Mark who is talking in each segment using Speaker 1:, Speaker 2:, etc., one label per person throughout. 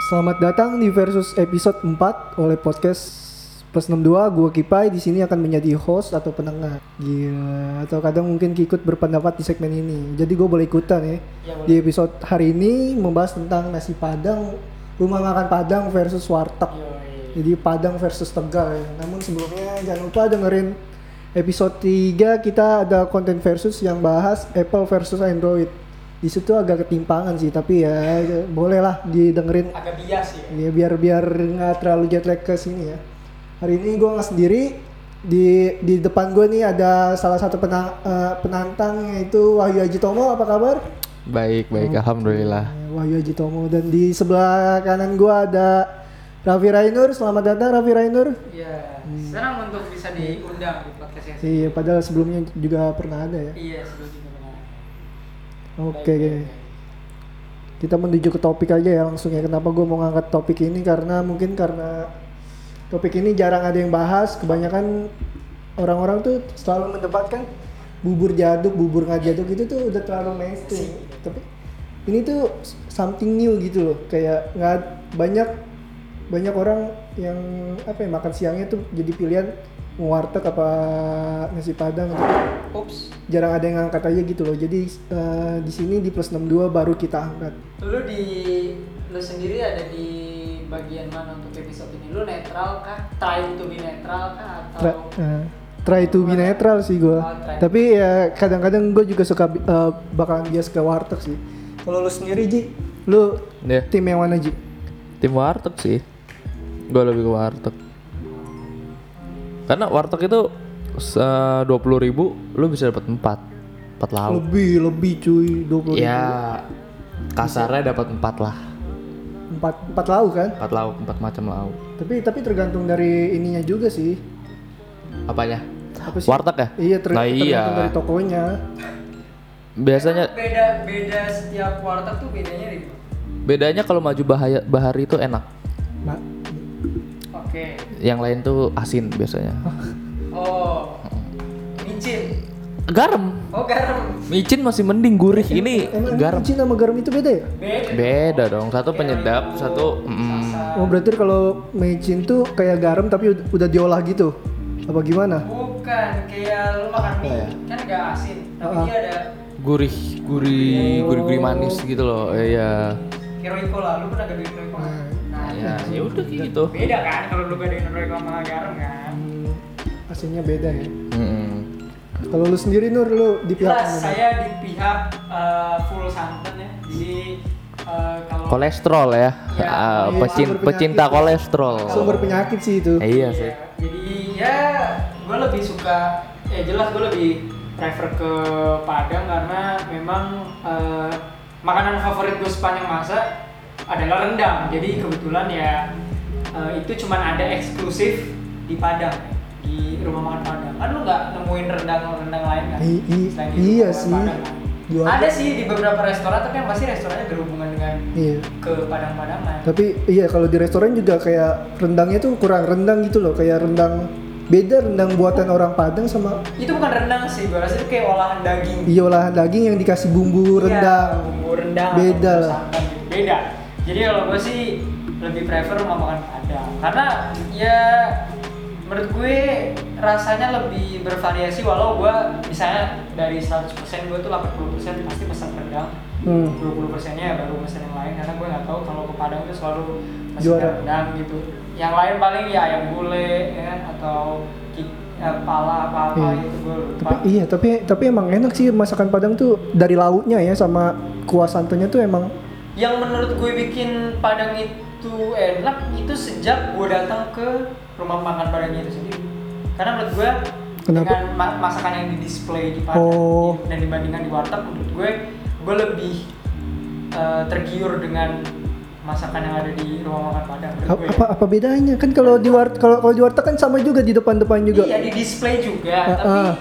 Speaker 1: Selamat datang di Versus episode 4 oleh podcast Plus 62 gua Kipai di sini akan menjadi host atau penengah. Gila, atau kadang mungkin ikut berpendapat di segmen ini. Jadi gue boleh ikutan ya. Di episode hari ini membahas tentang nasi Padang, rumah makan Padang versus warteg.
Speaker 2: Iya.
Speaker 1: Jadi Padang versus Tegal ya. Namun sebelumnya jangan lupa dengerin episode 3 kita ada konten versus yang bahas Apple versus Android. Di situ agak ketimpangan sih, tapi ya bolehlah didengerin
Speaker 2: agak bias ya.
Speaker 1: Ya biar biar nggak terlalu jet lag ke sini ya. Hari ini gue nggak sendiri. Di di depan gue nih ada salah satu pena- eh, penantang yaitu Wahyu Aji Tomo. Apa kabar?
Speaker 3: Baik, baik, alhamdulillah.
Speaker 1: Eh, Wahyu Aji Tomo dan di sebelah kanan gue ada Raffi Rainur. Selamat datang Raffi Rainur.
Speaker 2: Iya. Senang untuk bisa diundang di podcast yang
Speaker 1: Iya, padahal sebelumnya juga pernah ada ya.
Speaker 2: Iya, seru juga benar.
Speaker 1: Oke.
Speaker 2: Baik, baik, baik.
Speaker 1: kita menuju ke topik aja ya langsung ya kenapa gue mau ngangkat topik ini karena mungkin karena topik ini jarang ada yang bahas kebanyakan orang-orang tuh selalu mendebatkan bubur jaduk bubur nggak jaduk itu tuh udah terlalu mainstream tapi ini tuh something new gitu loh kayak nggak banyak banyak orang yang apa ya makan siangnya tuh jadi pilihan mau warteg apa nasi padang tapi
Speaker 2: Ups,
Speaker 1: jarang ada yang ngangkat aja gitu loh jadi eh, di sini di plus 62 baru kita angkat
Speaker 2: lu di lu sendiri ada di bagian mana untuk episode ini? Lu netral kah? Trying to be netral kah
Speaker 1: Tra-
Speaker 2: atau
Speaker 1: eh, try to be netral sih gue
Speaker 2: Oh, try.
Speaker 1: tapi ya kadang-kadang gue juga suka bi- eh, bakalan bias ke warteg sih kalau lu sendiri Ji lu
Speaker 3: Ya,
Speaker 1: tim yang mana Ji?
Speaker 3: tim warteg sih. Gue lebih ke warteg. Karena warteg itu dua puluh ribu, lu bisa dapat empat, empat lauk.
Speaker 1: lebih lebih cuy 20
Speaker 3: Ya, kasarnya dapat empat lah,
Speaker 1: empat empat lauk kan
Speaker 3: empat lauk, empat macam lauk.
Speaker 1: tapi tapi tergantung dari ininya juga sih
Speaker 3: Apanya?
Speaker 1: Apa sih?
Speaker 3: Warteg ya?
Speaker 1: iya, ter-
Speaker 3: Nah,
Speaker 1: tergantung
Speaker 3: iya.
Speaker 1: dari tokonya
Speaker 3: Biasanya
Speaker 2: beda beda setiap warteg tuh bedanya di mana?
Speaker 3: bedanya kalau maju bahaya bahari itu enak.
Speaker 1: Ma-
Speaker 2: Oke.
Speaker 3: Yang lain tuh asin biasanya.
Speaker 2: Oh. Micin.
Speaker 3: Garam.
Speaker 2: Oh, garam.
Speaker 3: Micin masih mending gurih ini
Speaker 1: emang
Speaker 3: garam.
Speaker 1: micin sama garam itu beda ya
Speaker 2: Beda.
Speaker 3: Beda dong. Satu penyedap, satu mm,
Speaker 1: Oh berarti kalau micin tuh kayak garam tapi ud- udah diolah gitu? Apa gimana?
Speaker 2: Bukan kayak lu makan mie,
Speaker 3: ya?
Speaker 2: kan gak asin, tapi dia ada
Speaker 3: gurih gurih gurih gurih manis gitu loh iya
Speaker 2: Heroico lah, lu pernah gaduhin Heroico
Speaker 1: Iya,
Speaker 2: nggak? Nah,
Speaker 3: ya ya udah kayak gitu
Speaker 2: beda kan kalau lu gaduhin Heroico sama garam kan?
Speaker 1: Hmm, Asinnya beda ya.
Speaker 3: Mm-mm.
Speaker 1: Kalau lu sendiri Nur, lu di pihak
Speaker 2: Jelas,
Speaker 1: mana?
Speaker 2: saya di pihak eh, full santan ya, jadi eh, kalau
Speaker 3: kolesterol ya,
Speaker 2: Ya,
Speaker 3: Ah,
Speaker 1: iya,
Speaker 3: pecin-
Speaker 1: sumber
Speaker 3: pecinta
Speaker 1: penyakit.
Speaker 3: kolesterol
Speaker 1: Sumber penyakit sih itu.
Speaker 3: Eh, iya
Speaker 2: Iya,
Speaker 3: sih
Speaker 2: jadi ya gue lebih suka, ya jelas gue lebih prefer ke Padang karena memang eh, makanan favorit gue sepanjang masa adalah rendang. Jadi kebetulan ya eh, itu cuman ada eksklusif di Padang di rumah makan Padang. Kan lu nggak nemuin rendang-rendang lain kan?
Speaker 1: I- i-
Speaker 2: Selain di
Speaker 1: iya
Speaker 2: rumah makan
Speaker 1: sih.
Speaker 2: Padang kan?
Speaker 1: Jual-
Speaker 2: Ada sih di beberapa restoran, tapi yang pasti restorannya berhubungan dengan
Speaker 1: Iya.
Speaker 2: ke Padang-Padangan.
Speaker 1: Tapi iya kalau di restoran juga kayak rendangnya tuh kurang rendang gitu loh, kayak rendang beda rendang buatan orang Padang sama
Speaker 2: Itu bukan rendang sih, gue rasa itu kayak olahan daging.
Speaker 1: iya olahan daging yang dikasih bumbu
Speaker 2: Iya,
Speaker 1: rendang.
Speaker 2: bumbu rendang.
Speaker 1: Beda
Speaker 2: bumbu
Speaker 1: lah.
Speaker 2: santan gitu. Beda. Jadi kalau gue sih lebih prefer rumah makan Padang karena ya menurut gue rasanya lebih bervariasi walau gue misalnya dari 100% gue tuh 80% pasti pesan rendang
Speaker 1: Hmm.
Speaker 2: 20 persennya ya baru pesan yang lain karena gue nggak tahu kalau ke Padang tuh selalu pesen
Speaker 1: Juara.
Speaker 2: rendang gitu yang lain paling ya ayam gulai ya, atau ki- eh, pala apa apa
Speaker 1: Iya.
Speaker 2: gitu gue lupa
Speaker 1: Tapi iya, tapi tapi emang enak sih masakan Padang tuh dari lauknya ya sama kuah santannya tuh emang
Speaker 2: yang menurut gue bikin Padang itu enak itu sejak gue datang ke rumah makan Padangnya itu sendiri karena menurut gue
Speaker 1: Kenapa?
Speaker 2: dengan ma- masakan yang di display di Padang
Speaker 1: Oh.
Speaker 2: dan dibandingkan di warteg menurut gue gue lebih eh, tergiur dengan masakan yang ada di rumah makan Padang menurut
Speaker 1: apa
Speaker 2: gue ya.
Speaker 1: apa, apa bedanya kan kalau di war kalau kalau di warteg kan sama juga di depan-depan juga.
Speaker 2: iya di display
Speaker 1: Ah,
Speaker 2: juga tapi
Speaker 1: ah.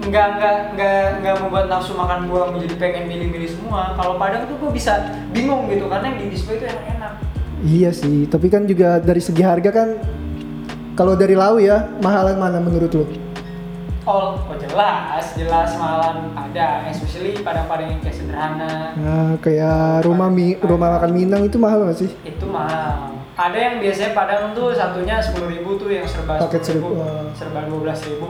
Speaker 2: nggak nggak nggak nggak membuat nafsu makan gua menjadi pengen milih-milih semua kalau Padang tuh gue bisa bingung gitu karena yang di display itu enak-enak
Speaker 1: Iya sih, tapi kan juga dari segi harga kan kalau dari lau ya mahalan mana menurut lo?
Speaker 2: all oh jelas jelas malam padang especially padang padang yang kayak sederhana
Speaker 1: Nah, kayak rumah mi rumah makan Minang itu mahal nggak sih?
Speaker 2: itu mahal ada yang biasanya padang tuh satunya sepuluh ribu tuh yang serba
Speaker 1: Paket
Speaker 2: 10.000,
Speaker 1: seribu. ah.
Speaker 2: serba dua belas ribu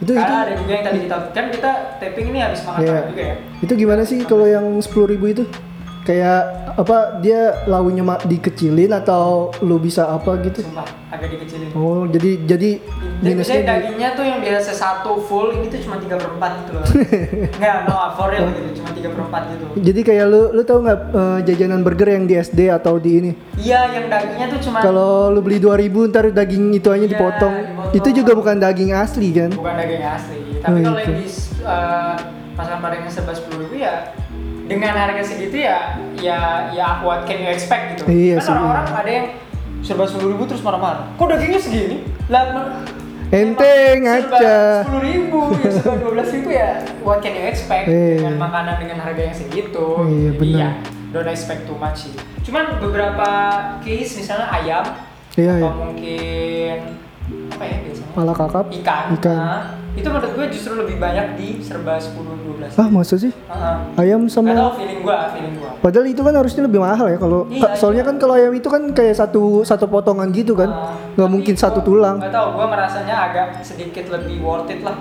Speaker 1: Itu itu
Speaker 2: ada juga yang tadi kita kan kita taping ini habis makan
Speaker 1: Iya.
Speaker 2: malam juga ya
Speaker 1: itu gimana sih kalau yang sepuluh ribu itu? Kayak apa dia launya ma- dikecilin atau lu bisa apa gitu?
Speaker 2: sumpah agak dikecilin
Speaker 1: Oh jadi jadi
Speaker 2: Jadi biasanya
Speaker 1: minusnya di-
Speaker 2: dagingnya tuh yang biasa satu full ini tuh cuma 3 per 4 gitu loh Nggak, no, for real gitu, cuma 3 per 4 gitu
Speaker 1: jadi kayak lu lu tau nggak eh, jajanan burger yang di SD atau di ini?
Speaker 2: Iya, yang dagingnya tuh cuma
Speaker 1: Kalau lu beli 2000 ntar daging itu aja
Speaker 2: Iya,
Speaker 1: dipotong.
Speaker 2: dipotong.
Speaker 1: Itu juga bukan daging asli kan?
Speaker 2: bukan daging asli Tapi
Speaker 1: Oh,
Speaker 2: kalau
Speaker 1: gitu.
Speaker 2: yang di eh, pasaran padang yang serba 10 ribu ya Dengan harga segitu ya, ya, ya what can you expect gitu
Speaker 1: Iya sih,
Speaker 2: Kan orang-orang ada yang serba 10 ribu terus marah-marah Kok dagingnya segini? Lah, men-
Speaker 1: Enteng
Speaker 2: emang
Speaker 1: aja.
Speaker 2: Serba 10 ribu, ya serba 12 ribu ya what can you expect
Speaker 1: Iya.
Speaker 2: dengan makanan dengan harga yang segitu
Speaker 1: Iya,
Speaker 2: Jadi
Speaker 1: benar.
Speaker 2: ya, don't expect too much sih Cuman beberapa case misalnya ayam
Speaker 1: Iya ya.
Speaker 2: atau mungkin apa ya biasanya?
Speaker 1: Pala kakap.
Speaker 2: ikan,
Speaker 1: Ikan.
Speaker 2: Nah, itu menurut gue justru lebih banyak di serba 10 12
Speaker 1: Ah maksud sih? Ayam
Speaker 2: Gak tau
Speaker 1: sama
Speaker 2: feeling gue, feeling gue
Speaker 1: Padahal itu kan harusnya lebih mahal ya kalau
Speaker 2: Iya,
Speaker 1: soalnya
Speaker 2: iya.
Speaker 1: kan kalau ayam itu kan kayak satu satu potongan gitu kan. nggak mungkin satu tulang.
Speaker 2: Gak tau, gue merasanya agak sedikit lebih worth it lah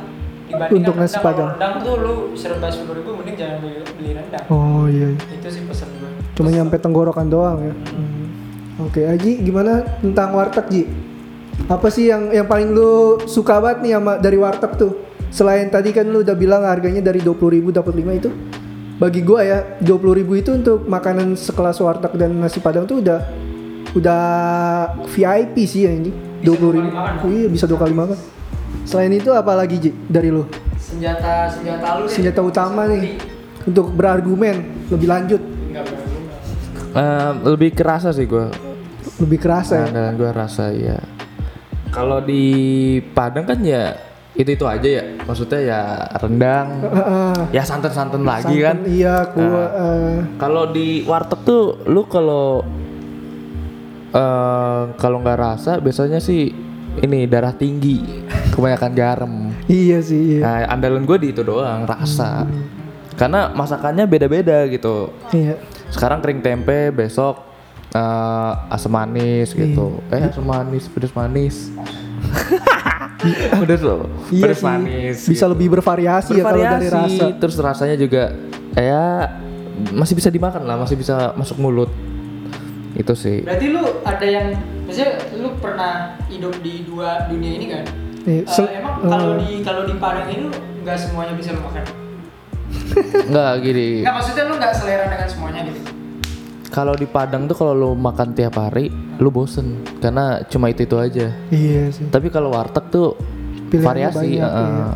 Speaker 2: dibandingkan
Speaker 1: Untuk nasi
Speaker 2: rendang.
Speaker 1: padang.
Speaker 2: Kalau rendang tuh lu serba 10 ribu mending jangan beli, beli rendang.
Speaker 1: Oh iya. iya.
Speaker 2: Itu sih pesan gue.
Speaker 1: Cuma nyampe tenggorokan doang ya.
Speaker 2: Hmm.
Speaker 1: Oke, Aji gimana tentang warteg, Ji? Apa sih yang yang paling lu suka banget nih sama dari warteg tuh? Selain tadi kan lu udah bilang harganya dari 20.000 dapat 5 itu. Bagi gua ya, 20.000 itu untuk makanan sekelas warteg dan nasi padang tuh udah udah VIP sih ya ini.
Speaker 2: Bisa dua
Speaker 1: 20.000.
Speaker 2: kali makan.
Speaker 1: Iya, bisa dua kali makan. Selain itu apa lagi, Ji? Dari lu?
Speaker 2: senjata senjata lu deh.
Speaker 1: Senjata utama nih untuk berargumen lebih lanjut,
Speaker 2: Enggak berguna.
Speaker 3: Eh, lebih kerasa sih gue
Speaker 1: lebih kerasa
Speaker 2: Nah,
Speaker 1: ya.
Speaker 3: makanan gue rasa ya kalau di Padang kan ya itu itu aja ya maksudnya ya rendang
Speaker 1: Heeh.
Speaker 3: ya santan-santan lagi kan
Speaker 1: Santan, iya kuah eh,
Speaker 3: Kalau di warteg tuh lu kalau eh kalau nggak rasa biasanya sih ini darah tinggi, kebanyakan garam.
Speaker 1: iya sih iya.
Speaker 3: Nah, andalan gue di itu doang rasa. Karena masakannya beda-beda gitu.
Speaker 1: iya
Speaker 3: Sekarang kering tempe, besok eh, asam manis gitu. Eh
Speaker 1: Iya.
Speaker 3: asam manis, pedas manis. pedas loh,
Speaker 1: Iya
Speaker 3: pedas
Speaker 1: sih,
Speaker 3: manis.
Speaker 1: bisa
Speaker 3: gitu.
Speaker 1: lebih bervariasi, ya kalau dari
Speaker 3: Bervariasi,
Speaker 1: rasa
Speaker 3: terus rasanya juga ya masih bisa dimakan lah masih bisa masuk mulut itu
Speaker 1: Iya.
Speaker 3: sih
Speaker 2: Berarti lu ada yang maksudnya lu pernah hidup di dua dunia ini kan?
Speaker 1: Iya,
Speaker 2: Eh,
Speaker 1: se-
Speaker 2: emang kalau
Speaker 1: eh.
Speaker 2: di kalau di Padang ini lu nggak semuanya bisa lu makan.
Speaker 3: nggak gini
Speaker 1: Iya.
Speaker 2: Nggak maksudnya lu nggak selera dengan semuanya gitu.
Speaker 3: kalau di Padang tuh kalau lo makan tiap hari lu bosen karena cuma itu itu aja
Speaker 1: iya sih
Speaker 3: tapi kalau warteg tuh
Speaker 1: Pilihannya
Speaker 3: variasi
Speaker 1: banyak,
Speaker 3: eh,
Speaker 1: iya.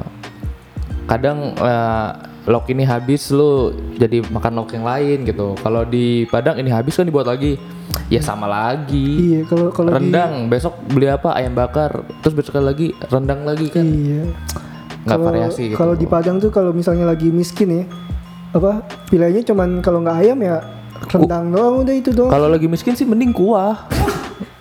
Speaker 3: kadang eh, lok ini habis lu jadi makan lok yang lain gitu kalau di Padang ini habis kan dibuat lagi ya sama lagi
Speaker 1: iya kalau kalau di-
Speaker 3: rendang besok beli apa ayam bakar terus besok lagi rendang lagi kan
Speaker 1: iya
Speaker 3: nggak
Speaker 1: Kalau-
Speaker 3: variasi gitu
Speaker 1: kalau di Padang tuh kalau misalnya lagi miskin ya apa pilihannya cuman kalau nggak ayam ya rendang doang udah itu doang
Speaker 3: kalau lagi miskin sih mending kuah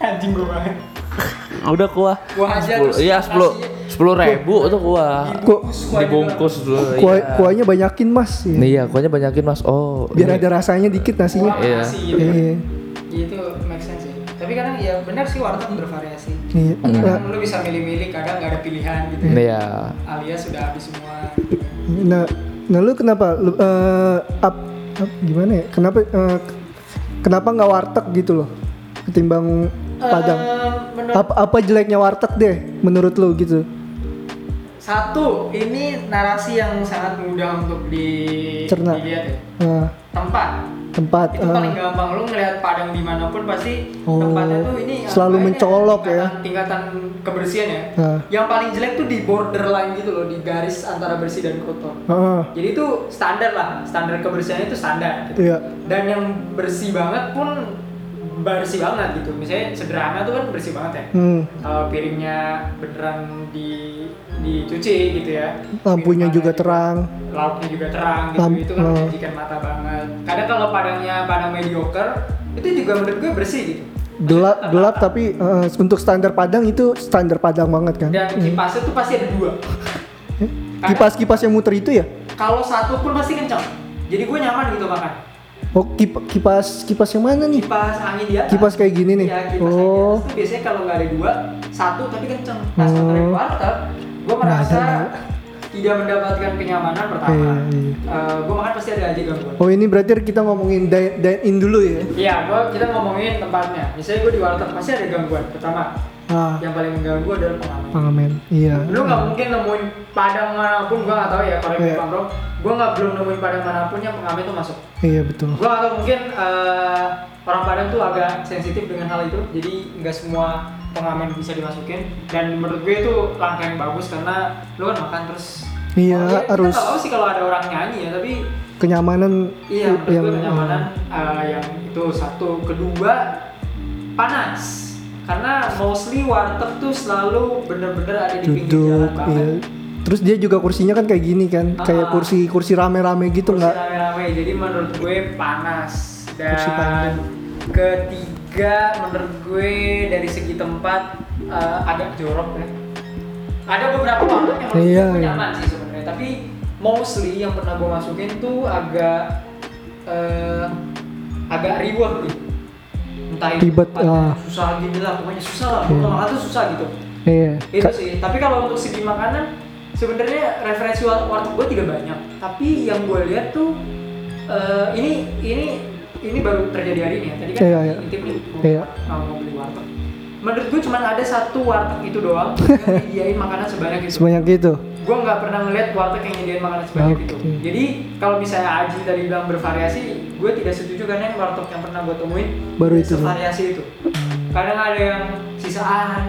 Speaker 2: Anjing gue banget.
Speaker 3: udah kuah
Speaker 2: Kuah aja
Speaker 3: Sepuluh-
Speaker 2: terus
Speaker 3: iya sepuluh
Speaker 2: nasinya.
Speaker 3: sepuluh ribu itu kuah
Speaker 2: Dibungkus kuahnya
Speaker 3: dibungkus dulu
Speaker 1: Kuah-
Speaker 3: iya.
Speaker 1: kuahnya banyakin mas ya.
Speaker 3: Nih, iya kuahnya banyakin mas oh
Speaker 1: biar
Speaker 3: ini.
Speaker 1: ada rasanya dikit
Speaker 2: Kuah
Speaker 1: nasinya
Speaker 2: sama
Speaker 3: Iya.
Speaker 2: nasi gitu.
Speaker 1: iya
Speaker 2: Ya, itu make sense sih. Tapi kadang ya benar sih warteg bervariasi.
Speaker 1: iya Nah,
Speaker 2: Kadang lu bisa milih-milih, kadang nggak ada pilihan gitu.
Speaker 3: iya
Speaker 2: Alias sudah habis semua. gitu.
Speaker 1: Nah, nah lu kenapa lu, eh, up- up- gimana ya? Kenapa eh, kenapa nggak warteg gitu loh? Ketimbang Padang.
Speaker 2: Eh, menurut
Speaker 1: Apa, apa jeleknya warteg deh menurut lu gitu?
Speaker 2: Satu, ini narasi yang sangat mudah untuk di
Speaker 1: Cerna.
Speaker 2: dilihat ya.
Speaker 1: Eh,
Speaker 2: Tempat.
Speaker 1: tempat
Speaker 2: Itu
Speaker 1: eh,
Speaker 2: paling gampang lu ngelihat padang dimanapun pasti
Speaker 1: Oh,
Speaker 2: tempatnya tuh ini ya,
Speaker 1: selalu
Speaker 2: apa ini
Speaker 1: mencolok ya.
Speaker 2: tingkatan- Tingkatan kebersihan ya.
Speaker 1: Ah.
Speaker 2: Yang paling jelek tuh di borderline gitu loh, di garis antara bersih dan kotor.
Speaker 1: eh,
Speaker 2: Jadi itu standar lah, standar kebersihannya itu standar. Gitu.
Speaker 1: Iya.
Speaker 2: Dan yang bersih banget pun bersih banget gitu. Misalnya sederhana tuh kan bersih banget ya.
Speaker 1: hmm,
Speaker 2: Kalau piringnya beneran di dicuci gitu ya.
Speaker 1: lampunya
Speaker 2: Piring
Speaker 1: juga
Speaker 2: mana
Speaker 1: terang.
Speaker 2: lauknya juga terang gitu
Speaker 1: Lamp-
Speaker 2: itu kan
Speaker 1: oh.
Speaker 2: menjanjikan mata banget kadang kalau padangnya padang mediocre itu juga menurut gue bersih gitu
Speaker 1: Gelap gelap tapi eh, untuk standar Padang itu standar Padang banget kan.
Speaker 2: dan kipasnya tuh pasti ada dua
Speaker 1: Kipas kipas yang muter itu ya?
Speaker 2: Kalau satu pun pasti kencang. Jadi gue nyaman gitu makan.
Speaker 1: Oh kip- kipas kipas yang mana nih?
Speaker 2: Kipas angin di atas.
Speaker 1: Kipas kayak gini nih?
Speaker 2: Iya, kipas angin di
Speaker 1: Oh.
Speaker 2: atas tuh biasanya kalau nggak ada dua, satu tapi kencang. Pas motor yang warteg, gue
Speaker 1: Nah,
Speaker 2: merasa
Speaker 1: ada, Nak.
Speaker 2: tidak mendapatkan kenyamanan pertama. Eh,
Speaker 1: Iya, iya.
Speaker 2: gue makan pasti ada aja gangguan.
Speaker 1: Oh ini berarti kita ngomongin dine, dine in dulu ya?
Speaker 2: Iya, gua kita ngomongin tempatnya. Misalnya gue di warteg pasti ada gangguan. Pertama,
Speaker 1: Ah,
Speaker 2: yang paling mengganggu adalah pengalaman.
Speaker 1: pengamen. Iya.
Speaker 2: Lu nggak mungkin nemuin padang manapun, gue nggak tahu ya kalau
Speaker 1: Iya.
Speaker 2: yeah. Bang Bro. Gue nggak belum nemuin padang manapun yang pengamen tuh masuk.
Speaker 1: Iya betul.
Speaker 2: Gue nggak tahu mungkin eh, orang Padang tuh agak sensitif dengan hal itu, jadi nggak semua pengamen bisa dimasukin. Dan menurut gue itu langkah yang bagus karena lu kan makan terus.
Speaker 1: Iya,
Speaker 2: Oh, kita
Speaker 1: harus.
Speaker 2: nggak tahu sih kalau ada orang nyanyi ya, tapi
Speaker 1: Kenyamanan.
Speaker 2: Iya, menurut
Speaker 1: yang
Speaker 2: gue kenyamanan eh, yang itu satu. Kedua, panas. Karena mostly warteg tuh selalu bener-bener ada di pinggir
Speaker 1: duduk.
Speaker 2: jalan
Speaker 1: Iya.
Speaker 2: banget.
Speaker 1: Terus dia juga kursinya kan kayak gini kan,
Speaker 2: Ah.
Speaker 1: kayak kursi kursi rame-rame gitu
Speaker 2: Kursi
Speaker 1: nggak?
Speaker 2: rame-rame, jadi menurut gue panas.
Speaker 1: Kursi
Speaker 2: Dan
Speaker 1: panjang.
Speaker 2: ketiga, menurut gue dari segi tempat eh, agak jorok ya. Ada beberapa warteg yang menurut
Speaker 1: Iya,
Speaker 2: gue
Speaker 1: iya.
Speaker 2: nyaman sih sebenarnya, tapi mostly yang pernah gue masukin tuh agak eh, agak riwah gitu. entah itu
Speaker 1: Ribet,
Speaker 2: tempatnya
Speaker 1: ah.
Speaker 2: susah gini lah pokoknya susah lah
Speaker 1: Iya.
Speaker 2: yeah. tuh susah gitu
Speaker 1: Iya.
Speaker 2: itu
Speaker 1: Ka-
Speaker 2: sih tapi kalau untuk segi makanan sebenarnya referensi war- warteg gue tidak banyak tapi yang gue lihat tuh eh, ini ini ini baru terjadi hari ini ya tadi kan
Speaker 1: Iya, iya.
Speaker 2: intip nih mau,
Speaker 1: Iya.
Speaker 2: mau- mau beli warteg menurut gue cuma ada satu warteg itu doang yang nyediain makanan sebanyak itu
Speaker 1: Sebanyak itu.
Speaker 2: gue nggak pernah ngeliat warteg yang nyediain makanan sebanyak itu
Speaker 1: Oke.
Speaker 2: jadi kalau misalnya Aji tadi bilang bervariasi gue tidak setuju karena yang warteg yang pernah gue temuin
Speaker 1: Baru itu.
Speaker 2: variasi itu kadang ada yang sisaan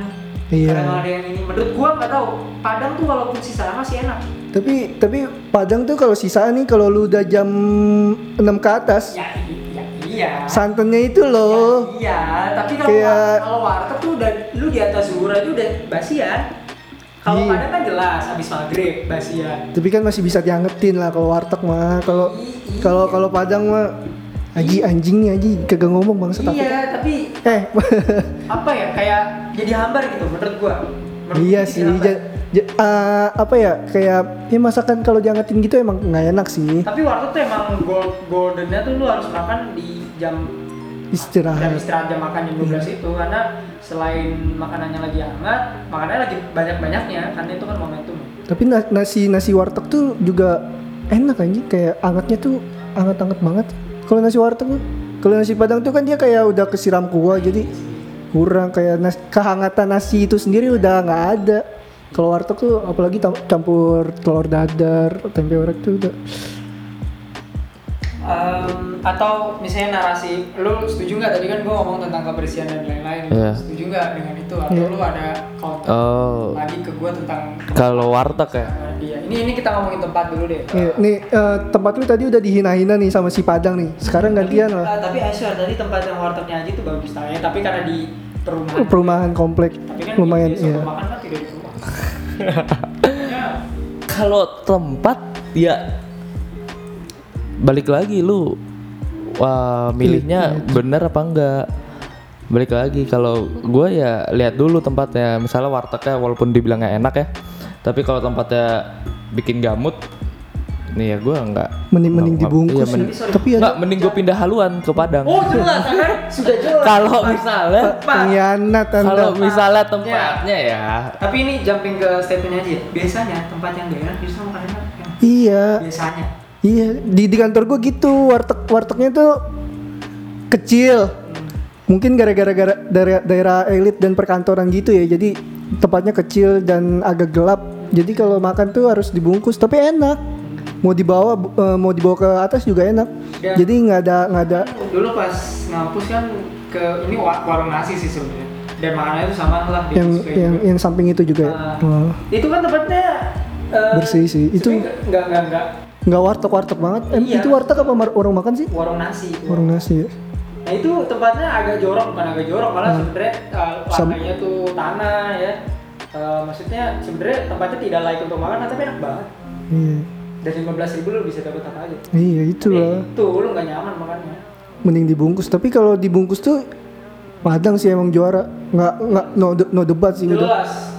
Speaker 1: Iya.
Speaker 2: kadang ada yang ini menurut gua nggak tahu Padang tuh walaupun sisaan masih enak
Speaker 1: Tapi tapi Padang tuh kalau sisaan nih kalau lu udah jam 6 ke atas,
Speaker 2: ya, i- ya iya
Speaker 1: santannya itu loh.
Speaker 2: Ya, iya tapi kalau
Speaker 1: Kayak-
Speaker 2: war- kalau warteg tuh udah lu di atas zuhur aja udah basian kalau
Speaker 1: Iya.
Speaker 2: Padang kan jelas abis maghrib basian
Speaker 1: Tapi kan masih bisa diangetin lah kalau warteg mah. Kalau
Speaker 2: I-
Speaker 1: kalau
Speaker 2: iya.
Speaker 1: kalau Padang mah Aji anjing nih Aji kagak ngomong bangsa tapi.
Speaker 2: iya tapi
Speaker 1: Eh,
Speaker 2: apa ya kayak jadi hambar gitu menurut gua Menurut
Speaker 1: iya
Speaker 2: gua jadi
Speaker 1: sih.
Speaker 2: hambar.
Speaker 1: ja- ja- eh, apa ya kayak ya masakan kalau diangetin gitu emang nggak enak sih.
Speaker 2: tapi warteg tuh emang gold goldennya tuh lu harus makan di jam jam
Speaker 1: Istirahat. Iya.
Speaker 2: istirahat jam makan jam 12 itu karena selain makanannya lagi hangat makanannya lagi banyak banyaknya karena itu kan momentum
Speaker 1: Tapi na- nasi nasi warteg tuh juga enak anjing kayak angetnya tuh anget-anget banget. Kalau nasi warteg tuh, kalau nasi padang tuh kan dia kayak udah kesiram kuah jadi kurang kayak nas- kehangatan nasi itu sendiri udah nggak ada. Kalau warteg tuh apalagi tam- campur telur dadar, tempe orek tuh udah
Speaker 2: Em, atau misalnya narasi lu setuju nggak tadi kan gua ngomong tentang kebersihan dan lain-lain
Speaker 3: Iya.
Speaker 2: setuju nggak dengan itu atau
Speaker 1: Iya.
Speaker 2: lu ada counter
Speaker 3: Oh,
Speaker 2: lagi ke gua tentang
Speaker 3: kalau warteg ya.
Speaker 2: dia ini ini kita ngomongin tempat dulu deh
Speaker 1: Iya, nih eh, tempat lu tadi udah dihina-hina nih sama si Padang nih. Sekarang gantian
Speaker 2: tapi,
Speaker 1: lah.
Speaker 2: eh, tapi I swear, tadi tempat yang wartegnya aja itu bagus tanya tapi karena di perumahan
Speaker 1: Perumahan komplek
Speaker 2: tapi kan
Speaker 1: lumayan
Speaker 2: biasa
Speaker 1: iya.
Speaker 2: makan kan tidak di rumah Ya.
Speaker 3: Kalau tempat ya balik lagi lu
Speaker 1: Iya.
Speaker 3: wah, milihnya bener apa enggak? Balik lagi kalau gua ya lihat dulu tempatnya. Misalnya wartegnya walaupun dibilang nggak enak ya, tapi kalau tempatnya bikin gamut nih ya gua nggak
Speaker 1: Mending mending
Speaker 3: nggak-
Speaker 1: dibungkus.
Speaker 3: iya, mending-
Speaker 1: ya. Tapi ada
Speaker 3: Nggak, mending gue pindah haluan ke Padang.
Speaker 2: Oh jelas kan? Sudah jelas.
Speaker 3: Kalau misalnya,
Speaker 2: Pak.
Speaker 1: pengkhianat Anda.
Speaker 3: kalau misalnya tempatnya ya,
Speaker 2: Tapi ini jumping ke statementnya aja. ya. Biasanya tempat yang gak enak justru makan enak. Yang
Speaker 1: Iya.
Speaker 2: ya? Biasanya.
Speaker 1: Iya, di, di kantor gue gitu, warteg wartegnya tuh kecil. Mungkin gara-gara gara- daerah, daerah elit dan perkantoran gitu ya, jadi tempatnya kecil dan agak gelap. Jadi kalau makan tuh harus dibungkus, tapi enak. Mau dibawa bu- eh, mau dibawa ke atas juga enak.
Speaker 2: Dan-
Speaker 1: Jadi nggak ada nggak ada.
Speaker 2: Dulu pas ngampus kan ke ini wa- warung nasi sih sebenarnya. Dan makanannya itu sama lah di
Speaker 1: yang
Speaker 2: sesuai
Speaker 1: yang
Speaker 2: juga.
Speaker 1: yang samping itu juga ya.
Speaker 2: Ah.
Speaker 1: Hmm.
Speaker 2: Itu kan tempatnya eh,
Speaker 1: Bersih sih. Itu-
Speaker 2: sebenarnya nggak nggak nggak
Speaker 1: nggak warteg warteg banget Em,
Speaker 2: Iya.
Speaker 1: itu warteg apa mar- orang makan sih
Speaker 2: warung nasi. Itu.
Speaker 1: warung nasi ya
Speaker 2: Nah itu tempatnya agak jorok, bukan agak jorok, malah
Speaker 1: Hmm.
Speaker 2: sebenarnya uh,
Speaker 1: Sam-
Speaker 2: warnanya tuh tanah ya. Uh, maksudnya sebenarnya tempatnya tidak layak untuk makan, tapi enak banget.
Speaker 1: iya
Speaker 2: Dari 15.000 ribu lu bisa dapat apa aja.
Speaker 1: iya itulah
Speaker 2: Eh, Itu lu nggak nyaman makannya.
Speaker 1: mending dibungkus tapi kalau dibungkus Iya, tuh Padang sih emang juara nggak nggak no, de- no debat sih udah
Speaker 2: Jelas.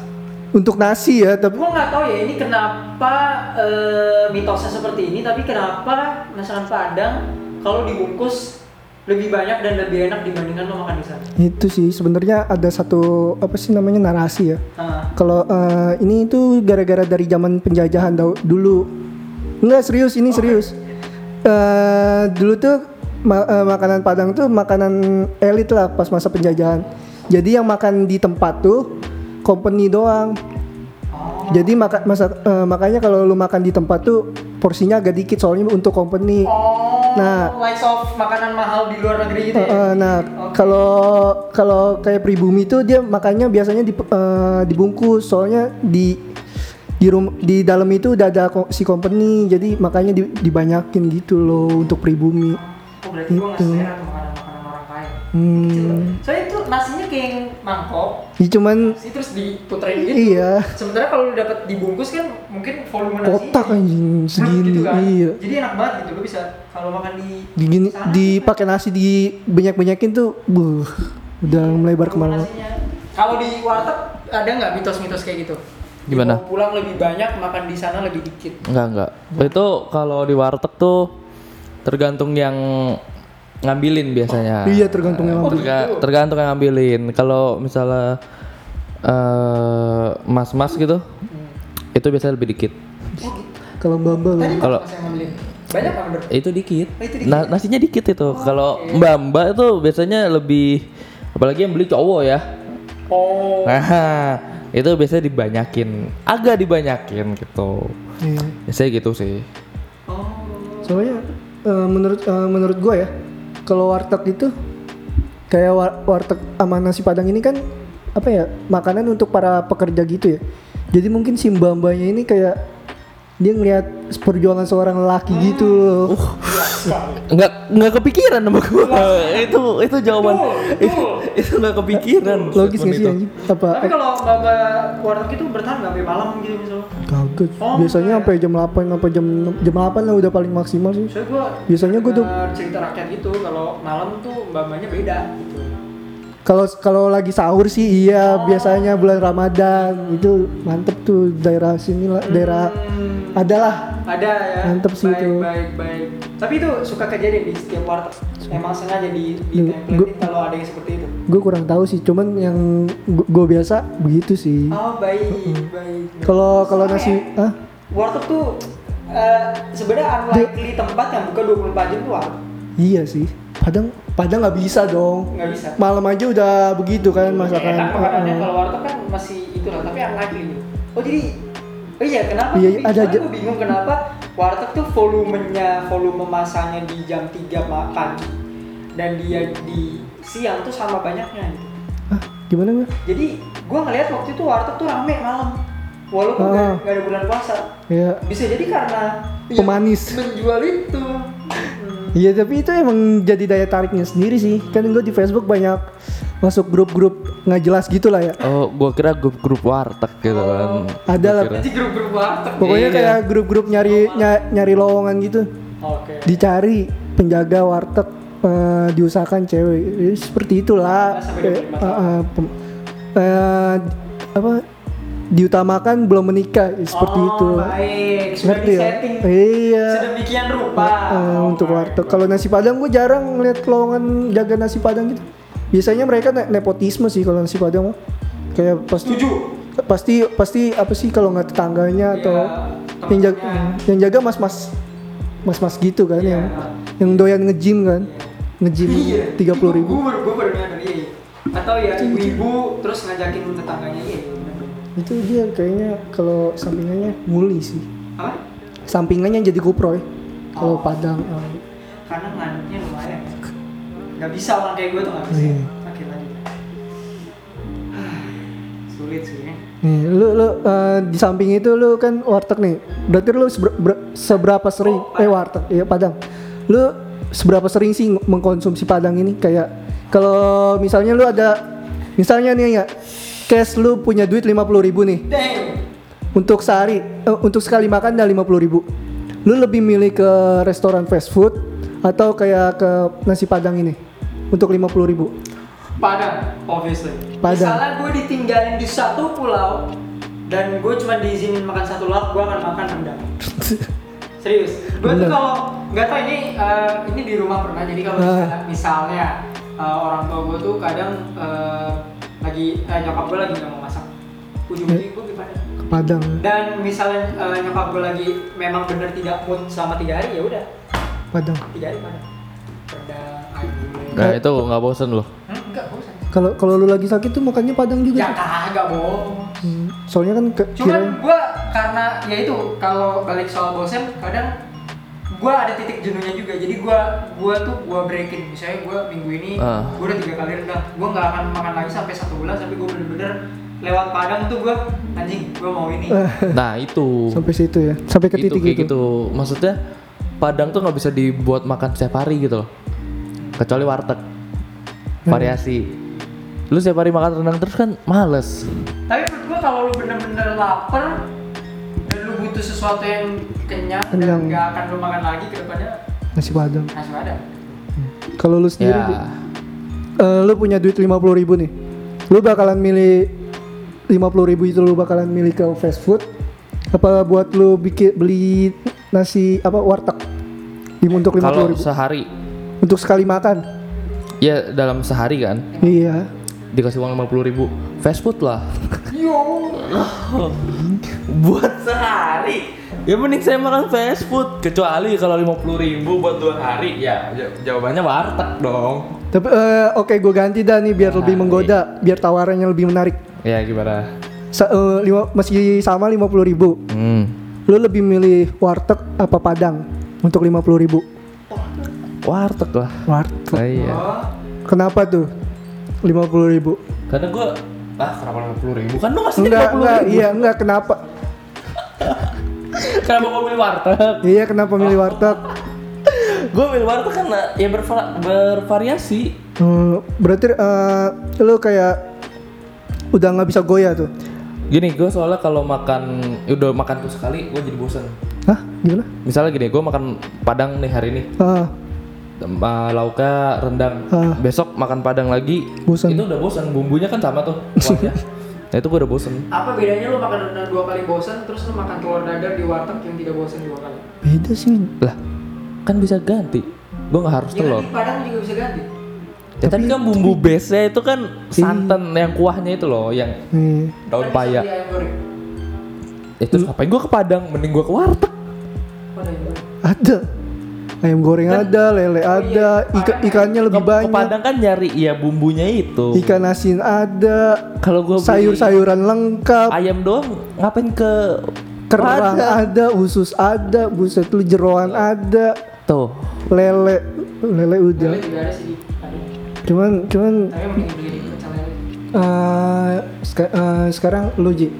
Speaker 1: untuk nasi ya tapi
Speaker 2: Gue nggak tahu ya ini kenapa eh, mitosnya seperti ini, tapi kenapa masakan Padang kalau dibungkus lebih banyak dan lebih enak dibandingkan lo makan di sana.
Speaker 1: itu sih sebenarnya ada satu apa sih namanya narasi ya
Speaker 2: Ah,
Speaker 1: kalau eh, ini itu gara-gara dari zaman penjajahan dau- dulu enggak serius ini serius Eh, dulu tuh ma- eh, makanan Padang tuh makanan elit lah pas masa penjajahan jadi yang makan di tempat tuh company doang
Speaker 2: Oh.
Speaker 1: jadi maka, masa- eh, makanya kalau lu makan di tempat tuh porsinya agak dikit soalnya untuk company
Speaker 2: Oh,
Speaker 1: Nah.
Speaker 2: likes of makanan mahal di luar negeri gitu
Speaker 1: Eh,
Speaker 2: ya?
Speaker 1: eh, nah kalau kalau kayak pribumi itu dia makannya biasanya di, eh, dibungkus soalnya di di rum, di dalam itu udah ada ko- si company jadi makanya di- dibanyakin gitu loh untuk pribumi
Speaker 2: Oh, berarti gue nggak
Speaker 1: Gitu.
Speaker 2: selera tuh makanan-makanan orang kaya.
Speaker 1: hmm
Speaker 2: Soalnya itu nasinya kayak yang mangkok,
Speaker 1: ya cuman
Speaker 2: sih terus diputerin gitu.
Speaker 1: iya
Speaker 2: Sementara kalau lu dapat dibungkus kan mungkin volume nasi
Speaker 1: kotak anjing segini
Speaker 2: gitu kan.
Speaker 1: iya
Speaker 2: Jadi enak banget gitu lu bisa kalau makan di
Speaker 1: Digini, dipakai nasi di banyak banyakin tuh buh udah melebar
Speaker 2: volume
Speaker 1: kemana
Speaker 2: nasinya. Kalau di warteg ada nggak mitos-mitos kayak gitu?
Speaker 3: Gimana?
Speaker 2: Dibawa pulang lebih banyak, makan di sana lebih dikit.
Speaker 3: Enggak, enggak. Itu kalau di warteg tuh tergantung yang ngambilin biasanya.
Speaker 1: iya tergantung yang
Speaker 2: Oh,
Speaker 1: ngambil.
Speaker 3: Terga-
Speaker 2: gitu.
Speaker 3: tergantung yang ngambilin. Kalau misalnya eh, mas-mas gitu, itu biasanya lebih dikit.
Speaker 2: Oh, gitu.
Speaker 1: kalau mbak mbak
Speaker 2: Tadi kalau
Speaker 3: Kalau-
Speaker 2: saya ngambilin banyak kan ber.
Speaker 3: Itu dikit.
Speaker 2: Oh, itu dikit. Oh,
Speaker 3: Na- nasinya dikit itu. Kalau mbak-mbak itu biasanya lebih, apalagi yang beli cowok ya.
Speaker 2: Oh.
Speaker 3: Nah, itu biasanya dibanyakin, agak dibanyakin gitu.
Speaker 1: Iya.
Speaker 3: Biasanya gitu sih.
Speaker 2: Oh.
Speaker 1: soalnya eh, menurut eh, menurut gue ya kalau warteg itu kayak war- warteg sama nasi padang ini kan apa ya makanan untuk para pekerja gitu ya jadi mungkin si mbak-mbaknya ini kayak dia ngelihat perjuangan seorang lelaki gitu loh
Speaker 3: Nggak nggak kepikiran sama gua. itu itu jawaban. itu, itu nggak kepikiran.
Speaker 1: logis gak
Speaker 3: statement
Speaker 1: sih
Speaker 3: itu.
Speaker 1: anjing apa eh,
Speaker 2: Tapi kalau mbak-mbak warteg itu bertahan nggak sampai malam gitu misalnya?
Speaker 1: kagak
Speaker 2: Oh,
Speaker 1: biasanya
Speaker 2: enggak ya.
Speaker 1: sampai jam 8 apa jam 6 jam 8 lah udah paling maksimal sih
Speaker 2: Soalnya gua
Speaker 1: Biasanya gua tuh-
Speaker 2: dengar cerita rakyat gitu kalau malam tuh mbak-mbaknya beda gitu.
Speaker 1: kalau kalau lagi sahur sih iya biasanya bulan Ramadan itu mantep tuh daerah sini lah daerah
Speaker 2: Hmm,
Speaker 1: adalah
Speaker 2: ada ya.
Speaker 1: Mantep sih
Speaker 2: baik,
Speaker 1: itu.
Speaker 2: Baik baik. Tapi itu suka kejadian di setiap warteg. Emang sengaja di di
Speaker 1: Lu-
Speaker 2: template kalau ada yang seperti itu.
Speaker 1: gue kurang tahu sih cuman yang gue biasa begitu sih
Speaker 2: Oh baik baik. baik.
Speaker 1: kalau kalau nasi
Speaker 2: Soalnya
Speaker 1: ah
Speaker 2: warteg tuh eh, sebenarnya unlikely tempat yang buka 24 jam tuh warteg.
Speaker 1: iya sih padang padang nggak bisa dong
Speaker 2: nggak bisa.
Speaker 1: malam aja udah begitu kan masakan Ah,
Speaker 2: Enak makanannya
Speaker 1: Heeh.
Speaker 2: Iya, kalau warteg kan masih itu lah, tapi unlikely. Oh jadi Oh iya, kenapa?
Speaker 1: Iya,
Speaker 2: Iya,
Speaker 1: ada
Speaker 2: ada
Speaker 1: aja-
Speaker 2: gue bingung kenapa warteg tuh volumenya, volume masanya di jam 3 ma- pagi dan dia di siang tuh sama banyaknya. gitu.
Speaker 1: Hah, gimana gue
Speaker 2: Jadi gue ngelihat waktu itu warteg tuh rame malam, walaupun
Speaker 1: Ah.
Speaker 2: nggak nggak ada bulan puasa.
Speaker 1: ya
Speaker 2: Bisa jadi karena ya,
Speaker 1: Pemanis.
Speaker 2: menjual itu. Hmm.
Speaker 1: Iya tapi itu emang jadi daya tariknya sendiri sih kan gue di Facebook banyak masuk grup-grup nggak jelas gitu lah ya
Speaker 3: Oh, gua kira grup-grup warteg gitu kan.
Speaker 1: Ada
Speaker 3: Gua
Speaker 1: lah.
Speaker 3: kira.
Speaker 2: Jadi grup-grup warteg.
Speaker 1: pokoknya
Speaker 3: Iya.
Speaker 1: kayak grup-grup nyari ny- nyari lowongan gitu
Speaker 2: Oke.
Speaker 1: dicari penjaga warteg eh, diusahakan cewek Eh, seperti itulah
Speaker 2: Sampai
Speaker 1: Eh,
Speaker 2: 25
Speaker 1: eh, eh, pem- eh, apa diutamakan belum menikah eh, seperti
Speaker 2: oh,
Speaker 1: itu
Speaker 2: Baik, sudah
Speaker 1: Ngerti
Speaker 2: di
Speaker 1: ya?
Speaker 2: setting
Speaker 1: iya
Speaker 2: sedemikian rupa.
Speaker 1: Eh,
Speaker 2: Oh,
Speaker 1: untuk
Speaker 2: my
Speaker 1: warteg
Speaker 2: God.
Speaker 1: kalau nasi padang gue jarang ngeliat lowongan jaga nasi padang gitu biasanya mereka ne- nepotisme sih kalau nasi padang mah. kayak pasti
Speaker 2: Setuju.
Speaker 1: pasti pasti apa sih kalau nggak tetangganya atau
Speaker 2: Iya,
Speaker 1: yang jaga
Speaker 2: temennya.
Speaker 1: yang jaga mas-mas mas-mas gitu kan
Speaker 2: Iya.
Speaker 1: yang yang doyan nge-gym kan nge-gym tiga puluh ribu
Speaker 2: Gue gue Iya, baru nyadar iya. iya. Atau ya ibu-ibu terus ngajakin tetangganya iya. iya, bener.
Speaker 1: itu dia kayaknya kalau sampingannya nguli sih
Speaker 2: Apa?
Speaker 1: sampingannya jadi kuproy kalau
Speaker 2: Oh.
Speaker 1: padang eh,
Speaker 2: Karena ngantuknya lumayan. Gak bisa orang kayak gue tuh gak bisa.
Speaker 1: Iya.
Speaker 2: Oke lanjut. Hah, Sulit sih. ya.
Speaker 1: nih lu lu eh, di samping itu lu kan warteg nih berarti lu seber- ber- seberapa sering eh warteg ya padang lu seberapa sering sih mengkonsumsi padang ini kayak kalau misalnya lu ada misalnya nih ya cash lu punya duit 50.000 ribu nih
Speaker 2: Damn.
Speaker 1: untuk sehari eh, untuk sekali makan dah lima ribu lu lebih milih ke restoran fast food atau kayak ke nasi padang ini untuk lima ribu
Speaker 2: Padang, obviously.
Speaker 1: Padang.
Speaker 2: Misalnya gue ditinggalin di satu pulau, dan gue cuma diizinin makan satu lauk gue akan makan rendang serius gue tuh
Speaker 1: Bener.
Speaker 2: kalau nggak tau ini eh, ini di rumah pernah jadi kalau
Speaker 1: Ah.
Speaker 2: misalnya, misalnya, eh, orang tua gue tuh kadang eh, lagi eh, nyokap gue lagi nggak mau masak ujung-ujungnya gue gimana
Speaker 1: ke Padang
Speaker 2: dan misalnya eh, nyokap gue lagi memang bener tidak mood selama tiga hari ya udah
Speaker 1: Padang
Speaker 2: tiga hari mana rendang ayam
Speaker 3: Nah itu nggak bosen loh.
Speaker 2: hmm, enggak bosan
Speaker 1: kalau kalau lu lagi sakit tuh makannya Padang juga
Speaker 2: ya kagak bohong
Speaker 1: Hmm, soalnya kan ke,
Speaker 2: cuman
Speaker 1: kirain-
Speaker 2: gue karena ya itu kalau balik soal bosen kadang gue ada titik jenuhnya juga jadi gue gua tuh gue breakin misalnya gue minggu ini
Speaker 3: Ah.
Speaker 2: gue udah tiga kali rendang gue nggak akan makan lagi sampai satu bulan sampai gue bener-bener lewat padang tuh gue anjing gue mau ini
Speaker 3: Nah itu.
Speaker 1: sampai situ ya sampai ke
Speaker 3: itu
Speaker 1: titik
Speaker 3: kayak
Speaker 1: itu,
Speaker 3: gitu. Maksudnya Padang tuh nggak bisa dibuat makan setiap hari gitu loh. Kecuali warteg. Nah. Variasi. Lu setiap hari makan rendang terus kan males.
Speaker 2: tapi menurut gue kalau lu bener-bener lapar dan lu butuh sesuatu yang kenyang,
Speaker 1: Kenyang.
Speaker 2: dan nggak akan lu makan lagi ke depannya
Speaker 1: nasi Padang
Speaker 2: masih ada
Speaker 1: kalau lu sendiri
Speaker 3: Ya.
Speaker 1: Bu, eh, lu punya duit 50.000 ribu nih lu bakalan milih 50.000 ribu itu lu bakalan milih ke fast food apa buat lu bikin beli nasi apa warteg di untuk 50.000
Speaker 3: Kalau
Speaker 1: ribu
Speaker 3: sehari,
Speaker 1: untuk sekali makan
Speaker 3: ya dalam sehari kan
Speaker 1: iya
Speaker 3: dikasih uang lima puluh ribu, fast food lah.
Speaker 2: yo
Speaker 3: buat
Speaker 2: sehari
Speaker 3: ya mending saya makan fast food kecuali kalau lima puluh ribu buat dua hari ya ja- jawabannya warteg dong.
Speaker 1: tapi eh, oke gue ganti dah nih
Speaker 3: Nah,
Speaker 1: biar lebih
Speaker 3: iya.
Speaker 1: menggoda biar tawarannya lebih menarik
Speaker 3: Ya gimana?
Speaker 1: Sa- eh, lima- masih sama 50.000 ribu
Speaker 3: Hmm.
Speaker 1: lu lebih milih warteg apa padang untuk 50.000 ribu
Speaker 3: Warteg lah.
Speaker 1: warteg
Speaker 3: Ah, iya.
Speaker 2: oh,
Speaker 1: kenapa tuh 50.000 ribu
Speaker 3: Karena gua ah kenapa lima puluh ribu kan lu ngasih
Speaker 1: enggak
Speaker 3: lima puluh
Speaker 1: enggak
Speaker 3: ribu.
Speaker 1: iya enggak kenapa
Speaker 3: Kenapa gua milih warteg?
Speaker 1: iya kenapa milih warteg
Speaker 3: gua milih warteg karena ya berva- bervariasi.
Speaker 1: Hmm, berarti eh, lu kayak udah nggak bisa goyah tuh
Speaker 3: Gini gua soalnya kalau makan udah makan tuh sekali gua jadi bosen.
Speaker 1: hah gimana
Speaker 3: Misalnya gini, gua makan padang nih hari ini.
Speaker 1: ah
Speaker 3: Tem- uh, lauknya rendang
Speaker 1: Ah.
Speaker 3: besok makan padang lagi
Speaker 1: Bosan.
Speaker 3: itu udah bosan bumbunya kan sama tuh kuahnya nah itu gue udah bosan
Speaker 2: apa bedanya lu makan rendang dua kali bosan terus lu makan telur dadar di warteg yang tidak bosan dua kali
Speaker 1: beda sih
Speaker 3: lah kan bisa ganti gue nggak harus
Speaker 2: ya kan
Speaker 3: telur
Speaker 2: di padang juga bisa ganti
Speaker 3: ya tapi Iya kan bumbu base nya itu kan
Speaker 1: Iya.
Speaker 3: santan yang kuahnya itu loh yang
Speaker 1: nih
Speaker 2: Kan
Speaker 3: daun
Speaker 2: bisa
Speaker 3: paya
Speaker 2: beli ayam goreng
Speaker 3: itu ngapain gue ke padang mending gue ke warteg
Speaker 2: Mana ayam goreng?
Speaker 1: ada ayam goreng ada lele ada Ika- ikannya
Speaker 3: ke,
Speaker 1: lebih
Speaker 3: ke
Speaker 1: banyak
Speaker 3: padang kan nyari ya bumbunya itu
Speaker 1: ikan asin ada
Speaker 3: kalau gue
Speaker 1: sayur-sayuran lengkap
Speaker 3: ayam doang ngapain ke
Speaker 1: kerang
Speaker 3: Padang?
Speaker 1: ada usus ada buset lu jeroan ada
Speaker 3: tuh
Speaker 1: lele lele udah
Speaker 2: Lele juga ada sih di padang
Speaker 1: cuman cuman
Speaker 2: tapi mending beli di pecel lele
Speaker 1: eh, seka- eh, sekarang lu Ji,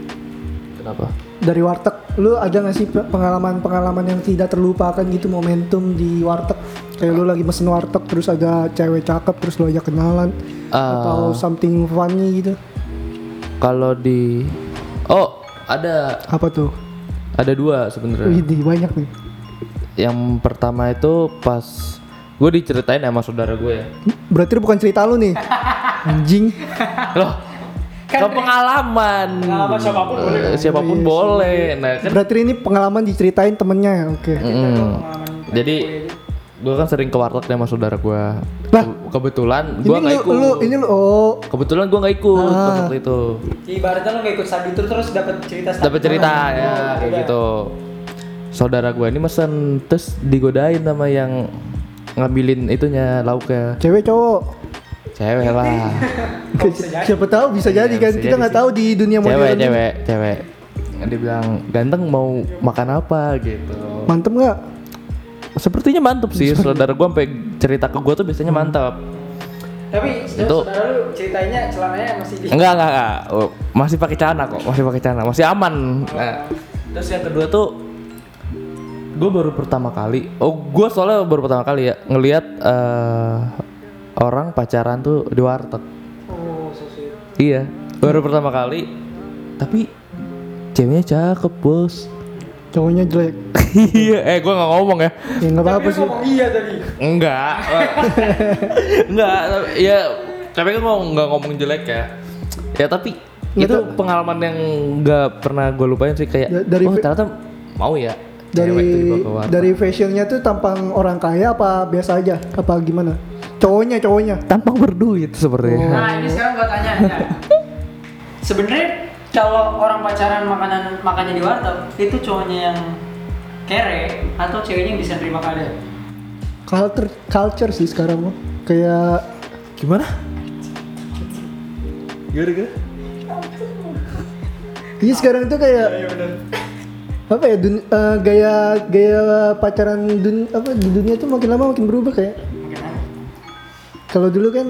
Speaker 3: kenapa
Speaker 1: dari warteg lu ada nggak sih pe- pengalaman-pengalaman yang tidak terlupakan gitu momentum di warteg kayak lu lagi mesen warteg terus ada cewek cakep terus lu ajak kenalan
Speaker 3: Ah.
Speaker 1: atau something funny gitu
Speaker 3: kalau di oh ada
Speaker 1: apa tuh
Speaker 3: Ada dua sebenarnya.
Speaker 1: Widih banyak nih
Speaker 3: Yang pertama itu pas gue diceritain sama saudara gue ya.
Speaker 1: berarti bukan cerita lu nih anjing
Speaker 3: Loh, ke pengalaman.
Speaker 2: Pengalaman siapapun boleh
Speaker 3: Eh, siapapun boleh. Nah, kan
Speaker 1: berarti ini pengalaman diceritain temennya oke
Speaker 3: Mm-mm.
Speaker 2: pengalaman
Speaker 3: jadi gue kan sering ke warteg nih sama saudara gue.
Speaker 1: Lah.
Speaker 3: Kebetulan gue
Speaker 1: ini
Speaker 3: nggak
Speaker 1: lu,
Speaker 3: ikut.
Speaker 1: lu ini lu oh
Speaker 3: Kebetulan gue nggak ikut
Speaker 1: Ah.
Speaker 3: waktu itu.
Speaker 2: ibaratnya lu nggak ikut sabi tur terus dapat cerita
Speaker 3: Dapat cerita ya kayak gitu. Saudara gue ini mesen terus digodain sama yang ngambilin itunya lauknya.
Speaker 1: cewek cowok
Speaker 3: Cewek lah.
Speaker 1: siapa tahu bisa jadi
Speaker 3: Iya,
Speaker 1: kan
Speaker 3: bisa
Speaker 1: kita
Speaker 3: jadi
Speaker 1: nggak
Speaker 3: sih.
Speaker 1: tahu di dunia
Speaker 3: cewek
Speaker 1: modern
Speaker 3: cewek cewek dia bilang ganteng mau makan apa gitu
Speaker 1: mantep nggak
Speaker 3: sepertinya mantep sih saudara gua sampai cerita ke gua tuh biasanya mantap
Speaker 2: tapi
Speaker 3: Itu.
Speaker 2: saudara lu ceritanya celananya masih di
Speaker 3: enggak enggak, enggak. Oh, masih pakai celana kok masih pakai celana masih aman nah, terus yang kedua tuh gue baru pertama kali oh gue soalnya baru pertama kali ya ngelihat eh, orang pacaran tuh di warteg
Speaker 2: oh susu
Speaker 3: iya baru pertama kali tapi ceweknya cakep bos
Speaker 1: cowoknya jelek
Speaker 3: iya eh gua nggak ngomong ya
Speaker 1: ya nggak apa-apa
Speaker 2: tapi lu
Speaker 1: sih
Speaker 2: ngomong iya tadi
Speaker 3: Enggak. Enggak, ya tapi kan mau nggak ngomong jelek ya. Ya tapi
Speaker 1: Nggak
Speaker 3: itu
Speaker 1: tahu.
Speaker 3: pengalaman yang nggak pernah gue lupain sih kayak
Speaker 1: Da- dari
Speaker 3: oh
Speaker 1: fe-
Speaker 3: ternyata mau ya cewek itu
Speaker 1: dari
Speaker 3: dibawa keluar
Speaker 1: dari fashionnya tuh tampang orang kaya apa biasa aja apa gimana cowoknya cowoknya
Speaker 3: tampang berduit sepertinya
Speaker 2: Nah ini sekarang gua tanya ya. Sebenarnya kalau orang pacaran makanan makannya di warteg itu cowoknya yang kere atau ceweknya yang bisa terima keadaan?
Speaker 1: culture culture sih sekarang mah kayak
Speaker 3: gimana gimana gimana
Speaker 1: iya sekarang tuh kayak apa ya dun- eh, gaya gaya pacaran dun apa di dunia tuh makin lama makin berubah kayak
Speaker 2: Mungkin aja.
Speaker 1: kalau dulu kan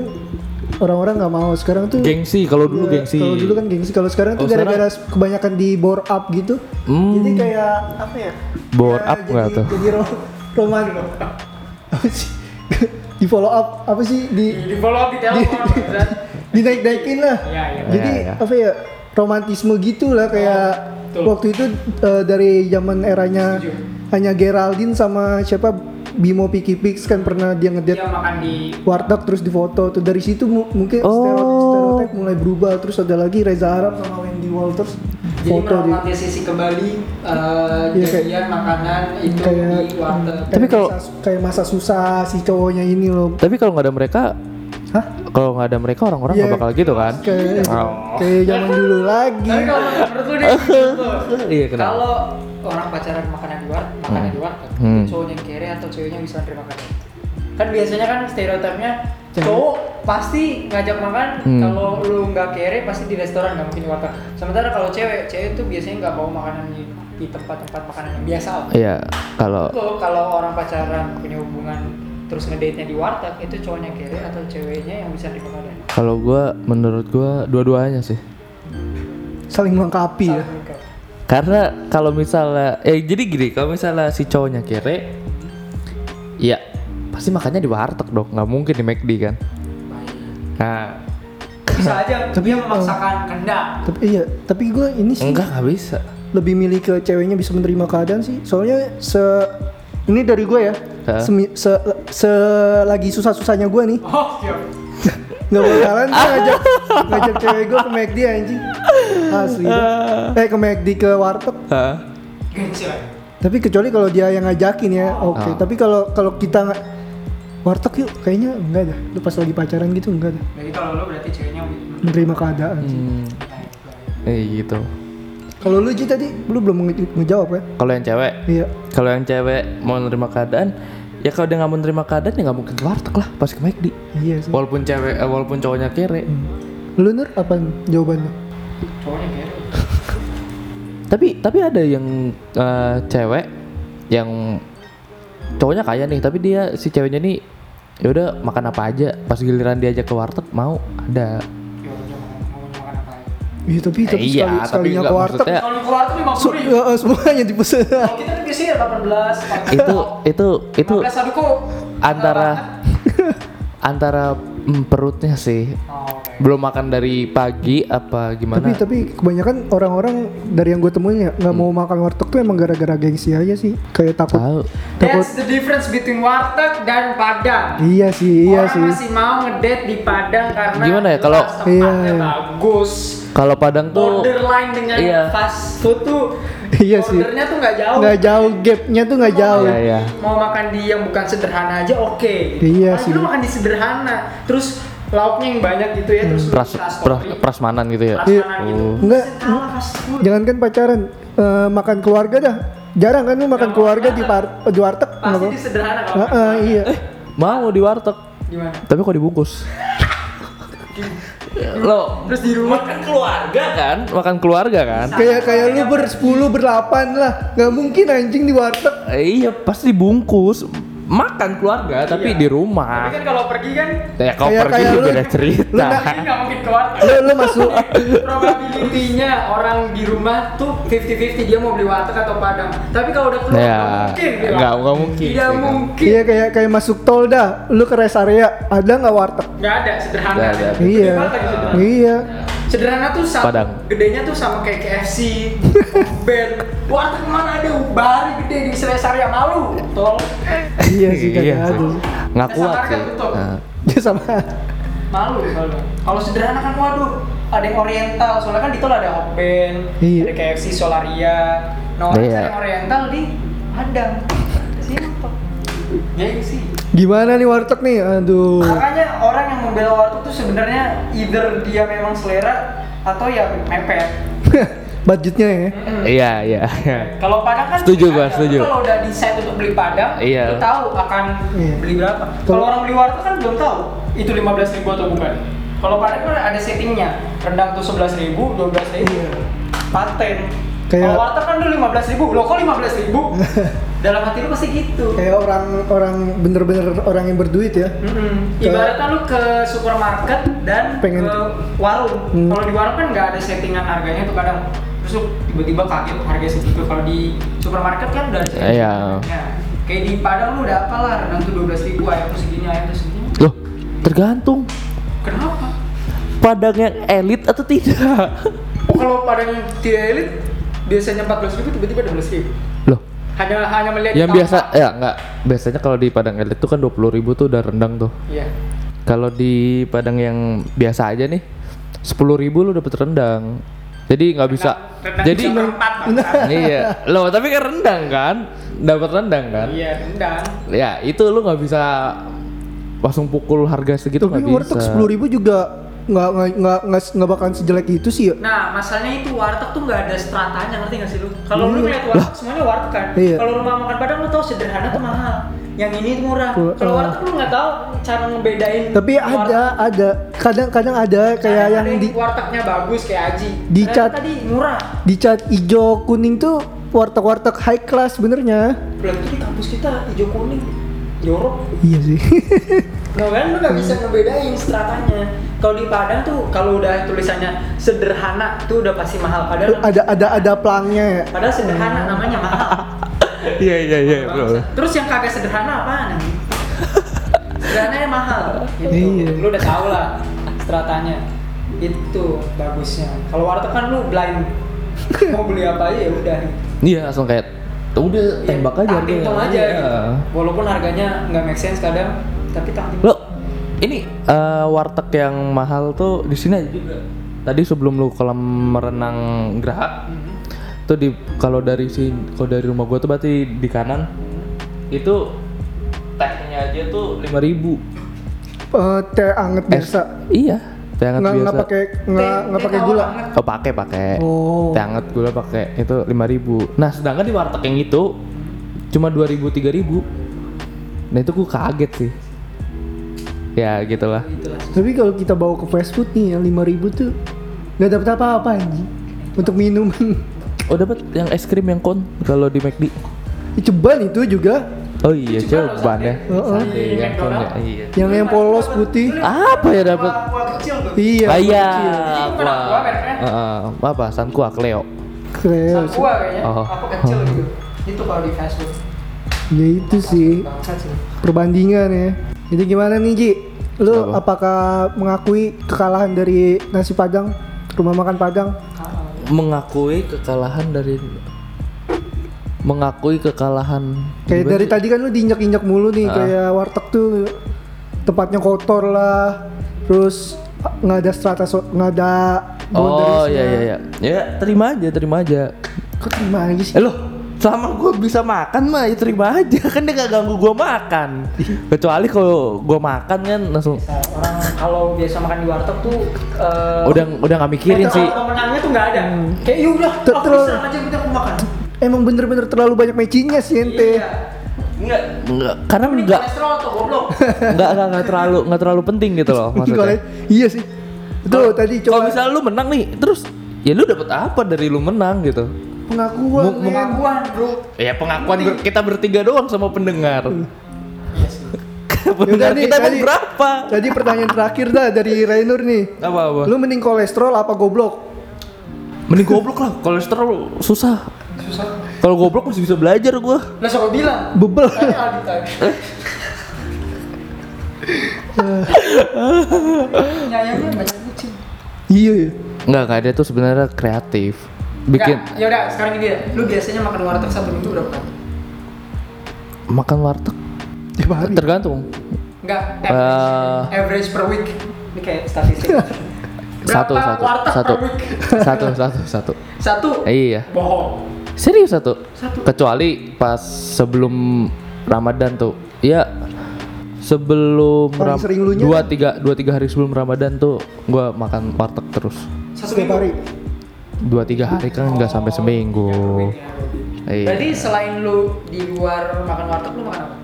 Speaker 1: orang-orang nggak mau sekarang tuh
Speaker 3: gengsi kalau dulu
Speaker 1: Ya,
Speaker 3: gengsi
Speaker 1: Kalau dulu kan gengsi. Kalau sekarang tuh
Speaker 3: Oh,
Speaker 1: gara-gara kebanyakan di bore up gitu.
Speaker 3: Hmm.
Speaker 1: Jadi kayak apa ya?
Speaker 3: Bore
Speaker 1: Ya,
Speaker 3: up nggak
Speaker 1: jadi-
Speaker 3: tuh?
Speaker 1: Jadi ro- roman apa sih? di follow up apa sih di
Speaker 2: Di follow up di telepon. Zat.
Speaker 1: dinaik-naikin lah.
Speaker 2: Iya iya. Oh,
Speaker 1: Jadi
Speaker 3: Ya, ya.
Speaker 1: apa ya? Romantisme gitu lah kayak
Speaker 2: betul.
Speaker 1: waktu itu eh, dari zaman eranya
Speaker 2: Setuju.
Speaker 1: hanya Geraldine sama siapa Bimo Piki Pix kan pernah dia ngedate
Speaker 2: Dia makan di
Speaker 1: warteg terus difoto tuh dari situ mu- mungkin
Speaker 3: Oh.
Speaker 1: stereotip, stereotip mulai berubah terus ada lagi Reza Arab sama Wendy Walters
Speaker 2: jadi
Speaker 1: foto di
Speaker 2: meromantisasi kembali eh
Speaker 1: Iya, kayak-
Speaker 2: jadian makanan itu
Speaker 1: kayak-
Speaker 2: di warteg.
Speaker 1: Tapi
Speaker 3: Tapi
Speaker 1: kalau
Speaker 3: kalau-
Speaker 1: kayak masa susah si cowoknya ini loh.
Speaker 3: tapi kalau nggak ada mereka
Speaker 1: Hah?
Speaker 3: kalau nggak ada mereka orang-orang nggak
Speaker 1: Iya.
Speaker 3: bakal gitu kan
Speaker 1: Kayak
Speaker 3: Oh.
Speaker 1: kayak zaman dulu lagi.
Speaker 2: Tapi kalau menurut lu deh, menurut lu,
Speaker 3: Iya, kenapa?
Speaker 2: kalau orang pacaran makanan di warteg, makanan di warteg,
Speaker 3: Hmm.
Speaker 2: itu cowoknya yang kere atau ceweknya yang bisa terima makan? Kan biasanya kan stereotipnya
Speaker 1: Cewek.
Speaker 2: cowok pasti ngajak makan
Speaker 3: Hmm.
Speaker 2: kalau lu nggak kere pasti di restoran nggak mungkin di warteg. Sementara kalau cewek, cewek tuh biasanya nggak mau makanan di, di tempat-tempat makanan yang biasa.
Speaker 3: iya kalau
Speaker 2: Lo kalau orang pacaran punya hubungan terus ngedate-nya di warteg itu cowoknya kere atau ceweknya yang bisa terima makan?
Speaker 3: kalau gua menurut gua dua-duanya sih
Speaker 1: Saling melengkapi ya.
Speaker 3: Karena kalau misalnya eh jadi gini, kalau misalnya si cowoknya kere ya pasti makannya di warteg dong, nggak mungkin di McD kan. Nah,
Speaker 2: Bisa aja
Speaker 1: Tapi,
Speaker 2: dia
Speaker 1: eh,
Speaker 2: memaksakan kendak.
Speaker 1: Tapi iya, tapi gue ini sih
Speaker 3: enggak nggak bisa.
Speaker 1: lebih milih ke ceweknya bisa menerima keadaan sih. Soalnya se ini dari gue ya.
Speaker 3: Hah?
Speaker 1: Semi- se, se lagi susah-susahnya gue nih
Speaker 2: Oh, siap.
Speaker 1: nggak bakalan gue ngajak ngajak cewek gue ke McD anjing asli
Speaker 3: Ah.
Speaker 1: dah. eh ke McD ke warteg
Speaker 3: Hah?
Speaker 2: Gengsi lah.
Speaker 1: tapi kecuali kalau dia yang ngajakin ya oke
Speaker 3: Ah.
Speaker 1: tapi kalau kalau kita nga- warteg yuk kayaknya enggak dah lu pas lagi pacaran gitu enggak dah
Speaker 2: Jadi kalau lo berarti ceweknya lebih-
Speaker 1: menerima keadaan sih.
Speaker 3: Hmm, eh gitu.
Speaker 1: kalau lu Ji tadi lu belum nge- ngejawab ya
Speaker 3: Kalau yang cewek,
Speaker 1: iya
Speaker 3: kalau yang cewek mau nerima keadaan, ya kalau dia nggak mau nerima keadaan ya nggak mungkin ke warteg lah, pasti ke McD.
Speaker 1: iya sih
Speaker 3: Walaupun cewek, eh, walaupun cowoknya kere.
Speaker 1: lu nur apa jawabannya
Speaker 2: cowoknya kere.
Speaker 3: Tapi tapi ada yang eh, cewek yang cowoknya kaya nih, tapi dia si ceweknya nih ya udah makan apa aja. Pas giliran diajak ke warteg mau ada.
Speaker 2: Ya udah makan- mau makan apa aja.
Speaker 1: iya tapi tapi
Speaker 3: Iya,
Speaker 1: sekali
Speaker 3: tapi
Speaker 1: sekalinya
Speaker 3: enggak,
Speaker 1: ke warteg
Speaker 3: maksudnya- Ya.
Speaker 2: Kalau lu keluar tuh lima
Speaker 1: su- eh, eh, semuanya dipesan
Speaker 2: Kalau kita kan biasanya 18,
Speaker 3: Itu itu itu
Speaker 2: 15 satu kok.
Speaker 3: antara antara mm, perutnya sih.
Speaker 2: Oh, oke.
Speaker 3: Belum makan dari pagi apa
Speaker 1: Tapi
Speaker 3: gimana?
Speaker 1: tapi kebanyakan orang-orang dari yang gue temuin ya nggak mau makan warteg tuh emang gara-gara gengsi aja sih. Kayak takut.
Speaker 3: Hmm. Tahu.
Speaker 1: Takut.
Speaker 2: That's the difference between warteg dan Padang.
Speaker 1: Iya sih, iya
Speaker 2: Orang
Speaker 1: sih.
Speaker 2: masih mau ngedate di Padang karena
Speaker 3: Gimana ya, kalau-
Speaker 2: jelas tempatnya
Speaker 1: Iya.
Speaker 2: bagus.
Speaker 3: Kalau Padang tuh
Speaker 2: Borderline dengan
Speaker 3: Iya.
Speaker 2: fast food tuh
Speaker 1: Iya sih.
Speaker 2: bordernya tuh nggak jauh.
Speaker 1: Nggak jauh gapnya tuh nggak jauh.
Speaker 3: Iya, iya.
Speaker 2: mau makan di yang bukan sederhana aja oke
Speaker 1: Iya
Speaker 2: Apalagi
Speaker 1: sih.
Speaker 2: lu makan di sederhana terus lauknya yang banyak gitu ya terus lu
Speaker 3: pras,
Speaker 2: tas
Speaker 3: pras,
Speaker 2: topping,
Speaker 3: prasmanan gitu ya.
Speaker 1: Iya.
Speaker 2: prasmanan gitu
Speaker 3: Oh.
Speaker 1: Enggak.
Speaker 2: Bisa kalah fast
Speaker 3: iya.
Speaker 2: food.
Speaker 1: Jangankan pacaran, eh, makan keluarga dah. Jarang kan lu makan
Speaker 2: Nggak
Speaker 1: keluarga
Speaker 2: mau
Speaker 1: di, par- di warteg. nggak
Speaker 2: pasti
Speaker 1: mau.
Speaker 2: di Eh, sederhana
Speaker 1: Ah,
Speaker 2: kalau
Speaker 1: ah,
Speaker 2: makan.
Speaker 1: iya.
Speaker 3: Mau di warteg.
Speaker 2: gimana
Speaker 3: Tapi kok dibungkus? Lo
Speaker 2: terus di rumah
Speaker 3: Nah.
Speaker 2: kan
Speaker 3: keluarga kan? Makan keluarga kan?
Speaker 1: Kayak kayak lu ber 10 berdelapan lah. Nggak mungkin anjing di warteg.
Speaker 3: Eh, Iya pasti bungkus. Makan keluarga Iya. tapi di
Speaker 2: tapi
Speaker 3: rumah.
Speaker 2: kan kalau pergi kan
Speaker 3: Ya kau
Speaker 1: Kayak-
Speaker 3: pergi
Speaker 1: kayak
Speaker 3: juga
Speaker 1: lu-
Speaker 3: beda cerita.
Speaker 1: lu nggak-
Speaker 2: ini nggak mungkin keluar kan?
Speaker 1: Lu lu masuk
Speaker 2: probability-nya orang di rumah tuh 50-50 dia mau beli warteg atau padang tapi kalau udah keluar
Speaker 3: Ya,
Speaker 2: nggak mungkin dia
Speaker 3: nggak-
Speaker 2: bilang.
Speaker 3: nggak mungkin
Speaker 2: tidak
Speaker 3: sih, kan.
Speaker 2: mungkin
Speaker 1: Iya kayak kayak masuk tol dah. Lu ke rest area ada nggak warteg?
Speaker 2: nggak ada sederhana
Speaker 3: Nggak ada.
Speaker 2: Di
Speaker 1: Iya.
Speaker 2: warteg sederhana.
Speaker 1: Iya.
Speaker 2: Sederhana tuh sama
Speaker 3: Padang.
Speaker 2: gedenya tuh sama kayak KFC, band. Warteg mana ada bari gede di Selesar yang malu, tol.
Speaker 1: Iya sih kagak
Speaker 3: sih. gitu.
Speaker 1: ada. sih.
Speaker 3: Nggak kuat
Speaker 2: Dasar harga
Speaker 3: sih.
Speaker 2: tutup.
Speaker 3: Nah,
Speaker 1: Ya sama.
Speaker 2: Malu kalau. Kalau sederhana kan waduh, ada yang oriental soalnya kan di tol ada Hokben
Speaker 1: Iya.
Speaker 2: ada KFC Solaria nah orang
Speaker 3: Iya.
Speaker 2: cari oriental di Padang simple gengsi
Speaker 1: Gimana nih warteg nih? Aduh.
Speaker 2: makanya orang yang membela warteg tuh sebenarnya either dia memang selera atau ya mepet
Speaker 1: Budgetnya ya.
Speaker 2: Mm-mm.
Speaker 3: Iya, iya.
Speaker 2: Kalau Padang kan
Speaker 3: Setuju gua,
Speaker 2: ada.
Speaker 3: setuju.
Speaker 2: Kalau udah decide untuk beli Padang,
Speaker 3: Iya.
Speaker 2: lu tahu akan
Speaker 1: Iya.
Speaker 2: beli berapa. Kalau
Speaker 1: Kalau-
Speaker 2: orang beli warteg kan belum tahu itu 15.000 atau bukan. Kalau Padang kan ada settingnya. Rendang tuh 11.000, 12.000.
Speaker 1: Iya.
Speaker 2: Paten.
Speaker 1: Kayak-
Speaker 2: Kalau warteg kan dulu 15.000, lo kok 15.000? Dalam hati lu pasti gitu.
Speaker 1: Kayak orang-orang bener-bener orang yang berduit ya.
Speaker 2: Mm-mm.
Speaker 1: Kayak-
Speaker 2: Ibaratnya lu ke supermarket dan
Speaker 1: Pengen-
Speaker 2: ke warung.
Speaker 1: Hmm.
Speaker 2: Kalau di warung kan nggak ada settingan harganya tuh kadang terus lu tiba-tiba kaget harga segitu. Kalau di supermarket kan udah ada settingan
Speaker 3: Iya.
Speaker 2: harganya. Kayak di Padang lu udah apalah rendang tuh 12 ribu ayam tuh segini ayam tuh segini.
Speaker 3: Loh, tergantung
Speaker 2: Kenapa?
Speaker 3: Padang yang elit atau tidak.
Speaker 2: Oh, kalau Padang yang tidak elit biasanya 14 ribu tiba-tiba 12 ribu.
Speaker 3: Loh,
Speaker 2: Hanya hanya melihat
Speaker 3: yang
Speaker 2: di
Speaker 3: biasa
Speaker 2: tampak.
Speaker 3: ya enggak. Biasanya kalau di Padang elit tuh kan 20.000 tuh udah rendang tuh.
Speaker 2: Iya.
Speaker 3: Kalau di Padang yang biasa aja nih 10.000 lu dapet rendang. Jadi nggak bisa.
Speaker 2: Rendang
Speaker 3: Jadi
Speaker 2: tiga per empat, Bang.
Speaker 3: iya. Loh, tapi kan rendang kan? Dapat rendang kan?
Speaker 2: Iya, rendang.
Speaker 3: Ya, itu lu nggak bisa langsung pukul harga segitu
Speaker 1: Tapi
Speaker 3: nggak bisa.
Speaker 1: warteg sepuluh ribu juga nggak nggak- nggak nggak nggak bakalan sejelek itu sih ya.
Speaker 2: Nah, masalahnya itu warteg tuh nggak ada stratanya, ngerti nggak sih lu? Kalau lu ngeliat warteg semuanya warteg kan.
Speaker 1: Iya.
Speaker 2: Kalau rumah makan Padang lu tahu sederhana tuh mahal. Yang ini murah.
Speaker 1: Gua-
Speaker 2: Kalau
Speaker 1: ah.
Speaker 2: warteg lu nggak tahu cara ngebedain.
Speaker 1: Tapi
Speaker 2: warteg.
Speaker 1: ada ada kadang-kadang ada kayak
Speaker 2: Kadang
Speaker 1: yang
Speaker 2: ada
Speaker 1: di
Speaker 2: wartegnya bagus kayak Aji.
Speaker 1: di
Speaker 2: Ternyata
Speaker 1: cat-
Speaker 2: tadi murah.
Speaker 1: di cat ijo kuning tuh warteg-warteg high class benernya.
Speaker 2: Belum di kampus kita hijau kuning. Jorok.
Speaker 1: Iya sih.
Speaker 2: Nah, kan lu
Speaker 1: Hmm.
Speaker 2: nggak bisa ngebedain stratanya. Kalau di Padang tuh kalau udah tulisannya sederhana tuh udah pasti mahal. Padahal
Speaker 1: ada ada ada pelangnya ya.
Speaker 2: padahal sederhana namanya mahal.
Speaker 3: Iya, iya, iya, bro.
Speaker 2: Terus yang kagak sederhana apaan? Sederhananya mahal. Gitu.
Speaker 1: Iya.
Speaker 2: Lu udah tau lah stratanya. Itu bagusnya. Kalau warteg kan lu blind. Mau beli apa aja ya udah.
Speaker 3: Iya, langsung kayak udah tembak aja
Speaker 2: Tang
Speaker 3: harganya.
Speaker 2: hitung aja
Speaker 3: Iya.
Speaker 2: gitu. Walaupun harganya nggak make sense kadang, tapi tak
Speaker 3: Lo ini eh, warteg yang mahal tuh di sini aja juga. Tadi sebelum lu kolam renang Graha, tuh di kalau dari sini kalau dari rumah gua tuh berarti di kanan itu tehnya aja tuh 5000.
Speaker 1: Eh, teh anget biasa.
Speaker 3: Iya, teh hangat
Speaker 1: Nggak nggak
Speaker 3: biasa.
Speaker 1: pakai nggak
Speaker 2: Teh-
Speaker 1: nggak
Speaker 2: teh
Speaker 1: pakai
Speaker 2: tawar
Speaker 1: gula.
Speaker 2: hangat.
Speaker 3: Oh, pakai pakai.
Speaker 1: Oh.
Speaker 3: Teh hangat gula pakai itu 5000. Nah, sedangkan di warteg yang itu cuma 2000 3000. Nah, itu gua kaget sih. Ya, gitulah.
Speaker 2: Itulah.
Speaker 1: Tapi kalau kita bawa ke fast food nih yang 5000 tuh nggak dapet apa-apa anjing. Untuk minuman.
Speaker 3: Oh dapat yang es krim yang kon kalau di McD.
Speaker 1: Ceban itu juga
Speaker 3: Oh iya
Speaker 2: Coba
Speaker 3: coba
Speaker 2: loh,
Speaker 3: ya.
Speaker 1: sate. Heeh.
Speaker 3: Sate yang kon ya.
Speaker 2: McDonald's.
Speaker 3: Iya.
Speaker 1: yang yang polos putih.
Speaker 3: Apa ya dapat?
Speaker 2: Kuah- kuah kecil tuh.
Speaker 1: Iya.
Speaker 3: Ah, iya.
Speaker 2: Itu kan aku apa ya?
Speaker 3: Heeh. apa? Sankuah Cleo.
Speaker 1: Kreos.
Speaker 2: Sama gua kayaknya.
Speaker 3: Oh.
Speaker 2: Aku kecil gitu. Itu kalau di fast food.
Speaker 1: Ya itu sih
Speaker 3: Iya.
Speaker 2: Bangsat sih.
Speaker 1: perbandingan ya. Jadi gimana nih Ji? Lu
Speaker 3: Apa?
Speaker 1: apakah mengakui kekalahan dari nasi Padang? Rumah makan Padang?
Speaker 2: Kalah.
Speaker 3: Mengakui kekalahan dari mengakui kekalahan
Speaker 1: Kayak dari tadi kan lu diinjak-injak mulu nih
Speaker 3: Ah.
Speaker 1: kayak warteg tuh tempatnya kotor lah. Terus ah, nggak ada strata so- nggak ada
Speaker 3: Oh
Speaker 1: boundariesnya.
Speaker 3: iya iya iya. Ya terima aja terima aja.
Speaker 1: Kok terima aja sih?
Speaker 3: Eh loh, selama gue bisa makan mah ya terima aja kan dia gak ganggu gue makan. Kecuali kalau gue makan kan langsung
Speaker 2: Nah, orang kalau biasa makan di warteg tuh eh,
Speaker 3: udah udah nggak mikirin
Speaker 2: kalau
Speaker 3: sih. Hmm.
Speaker 2: pemenangnya tuh nggak ada kayak ya udah
Speaker 1: Ter-
Speaker 2: aku
Speaker 1: terlalu-
Speaker 2: serang aja udah aku makan
Speaker 1: Emang bener-bener terlalu banyak mecinnya sih ente.
Speaker 2: iya enggak
Speaker 3: Enggak, karena
Speaker 2: ini
Speaker 3: enggak
Speaker 2: kolesterol atau goblok
Speaker 3: nggak nggak nggak terlalu nggak terlalu penting gitu loh
Speaker 1: Kalau-
Speaker 3: maksudnya.
Speaker 1: iya sih. Tuh tadi
Speaker 3: Kalau
Speaker 1: coba
Speaker 3: misalnya lu menang nih, terus ya lu dapat apa dari lu menang gitu?
Speaker 1: pengakuan.
Speaker 3: Mu-
Speaker 1: men.
Speaker 2: pengakuan bro
Speaker 3: Ya pengakuan ber- kita bertiga doang sama pendengar.
Speaker 2: iya sih
Speaker 1: Yaudah
Speaker 3: pendengar
Speaker 1: nih,
Speaker 3: kita emang
Speaker 1: tadi-
Speaker 3: berapa?
Speaker 1: Tadi pertanyaan terakhir dah dari Rainur nih.
Speaker 3: Apa apa?
Speaker 1: Lu mending kolesterol apa goblok?
Speaker 3: Mending goblok lah, kolesterol susah.
Speaker 2: susah
Speaker 3: Kalau goblok masih bisa belajar gua.
Speaker 2: lah siapa bilang
Speaker 1: Bebel.
Speaker 2: Tanya Aldi tadi. nyayangnya banyak kucing
Speaker 1: iya, iya.
Speaker 3: Enggak, enggak dia tuh sebenarnya kreatif. Bikin
Speaker 2: Nggak, yaudah sekarang gini deh lu biasanya makan warteg satu minggu berapa kali?
Speaker 3: makan warteg
Speaker 1: Tiap hari.
Speaker 3: tergantung.
Speaker 2: eh,
Speaker 3: Eh.
Speaker 2: Enggak, average, average per week. Ini kayak statistik.
Speaker 3: Satu,
Speaker 2: Berapa
Speaker 3: satu,
Speaker 2: warteg per
Speaker 3: satu,
Speaker 2: week?
Speaker 3: satu, satu, satu.
Speaker 2: Satu.
Speaker 3: Iya,
Speaker 2: Bohong.
Speaker 3: serius satu.
Speaker 2: Satu.
Speaker 3: Kecuali pas sebelum Ramadan tuh, ya sebelum
Speaker 1: Paling
Speaker 3: Ram-
Speaker 1: sering lu nya. kan?
Speaker 3: dua tiga dua tiga hari sebelum Ramadan tuh gua makan warteg terus
Speaker 2: Satu
Speaker 1: setiap hari.
Speaker 3: dua tiga hari kan nggak sampai seminggu Iya.
Speaker 2: Berarti selain lu di luar makan warteg lu makan apa?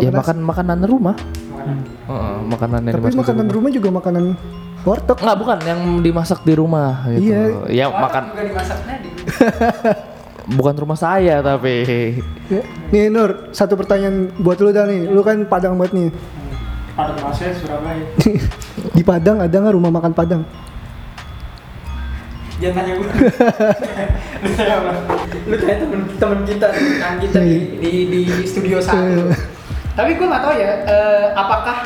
Speaker 3: ya
Speaker 1: nasi.
Speaker 3: makan makanan rumah
Speaker 2: Makanan.
Speaker 3: Heeh, makanan yang
Speaker 1: Tapi
Speaker 3: dimasak di
Speaker 1: makanan
Speaker 3: rumah.
Speaker 1: rumah juga makanan warteg.
Speaker 3: Nggak, bukan yang dimasak di rumah gitu.
Speaker 1: Iya.
Speaker 3: Ya
Speaker 2: Warteg
Speaker 3: makan
Speaker 2: juga dimasak tadi.
Speaker 3: bukan rumah saya tapi
Speaker 1: Ya. Nih Nur, satu pertanyaan buat lu dah nih. Lu kan Padang banget nih.
Speaker 2: Ada masnya Surabaya.
Speaker 1: Di Padang ada nggak rumah makan Padang?
Speaker 2: Jangan tanya gue. lu tanya apa? Lu tanya temen, temen kita, temen kita di, di, di studio satu.
Speaker 1: Iya.
Speaker 2: Tapi gue nggak tahu ya, eh, apakah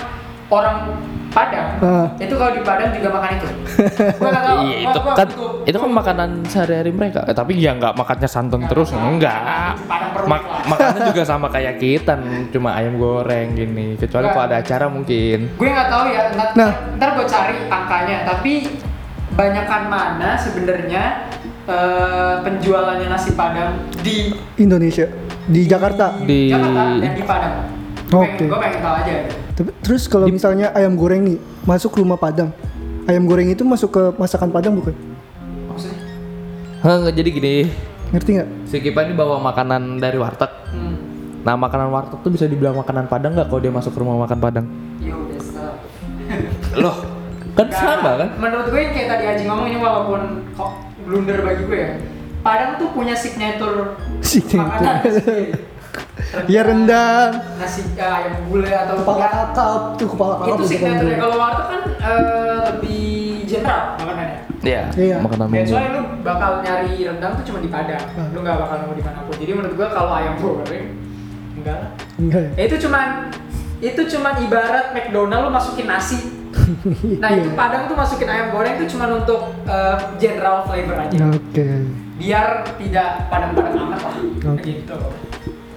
Speaker 2: orang Padang
Speaker 1: Ah.
Speaker 2: itu kalau di Padang juga makan itu? Gue nggak tahu.
Speaker 3: Iya, itu kan itu kan makanan sehari-hari mereka. Eh, tapi ya nggak makannya santan terus enggak.
Speaker 2: Padang perut
Speaker 3: Mak-
Speaker 2: lah.
Speaker 3: makannya juga sama kayak kita cuma ayam goreng gini. Kecuali
Speaker 2: Nggak.
Speaker 3: kalau ada acara mungkin.
Speaker 2: Gue nggak tahu ya. Ntar,
Speaker 1: Nah.
Speaker 2: ntar gue cari angkanya. Tapi banyakan mana sebenarnya eh, penjualannya nasi Padang di
Speaker 1: Indonesia di Jakarta.
Speaker 3: Di-
Speaker 2: Jakarta dan di Padang?
Speaker 1: Oke.
Speaker 2: Gue pengen tahu aja.
Speaker 1: Tapi- Terus kalau misalnya ayam goreng nih masuk rumah Padang, ayam goreng itu masuk ke masakan Padang bukan?
Speaker 2: Maksudnya?
Speaker 3: Heh, jadi gini,
Speaker 1: Ngerti nggak?
Speaker 3: si Kipa ini bawa makanan dari warteg.
Speaker 2: Hmm.
Speaker 3: Nah, makanan warteg tuh bisa dibilang makanan Padang nggak kalau dia masuk ke rumah makan Padang?
Speaker 2: Yo, desa.
Speaker 3: Loh, kan sama kan?
Speaker 2: Menurut gue yang kayak tadi Aji ngomong ini walaupun kok blunder bagi gue ya. Padang tuh punya signature makanan.
Speaker 1: Signature.
Speaker 2: sendiri.
Speaker 1: Ya rendang.
Speaker 2: nasi eh, ayam gulai atau ya,
Speaker 1: Kepala kakap tuh kepala kakap.
Speaker 2: itu
Speaker 1: bukan
Speaker 2: signature
Speaker 1: goreng.
Speaker 2: kalau warteg kan eh, lebih general makanannya
Speaker 3: Iya,
Speaker 1: Iya.
Speaker 3: makanan
Speaker 2: That's
Speaker 3: bumbu.
Speaker 2: why lu bakal nyari rendang tuh cuma di Padang
Speaker 1: Hmm.
Speaker 2: lu nggak bakal nemu di manapun jadi menurut gua kalau ayam goreng enggak lah
Speaker 1: Enggak ya?
Speaker 2: Ya, itu cuman itu cuman ibarat McDonald lu masukin nasi nah
Speaker 1: Iya.
Speaker 2: itu Padang tuh masukin ayam goreng itu cuman untuk eh, general flavor aja
Speaker 1: Oke.
Speaker 2: biar tidak padang-padang amat lah
Speaker 1: Oke.
Speaker 2: gitu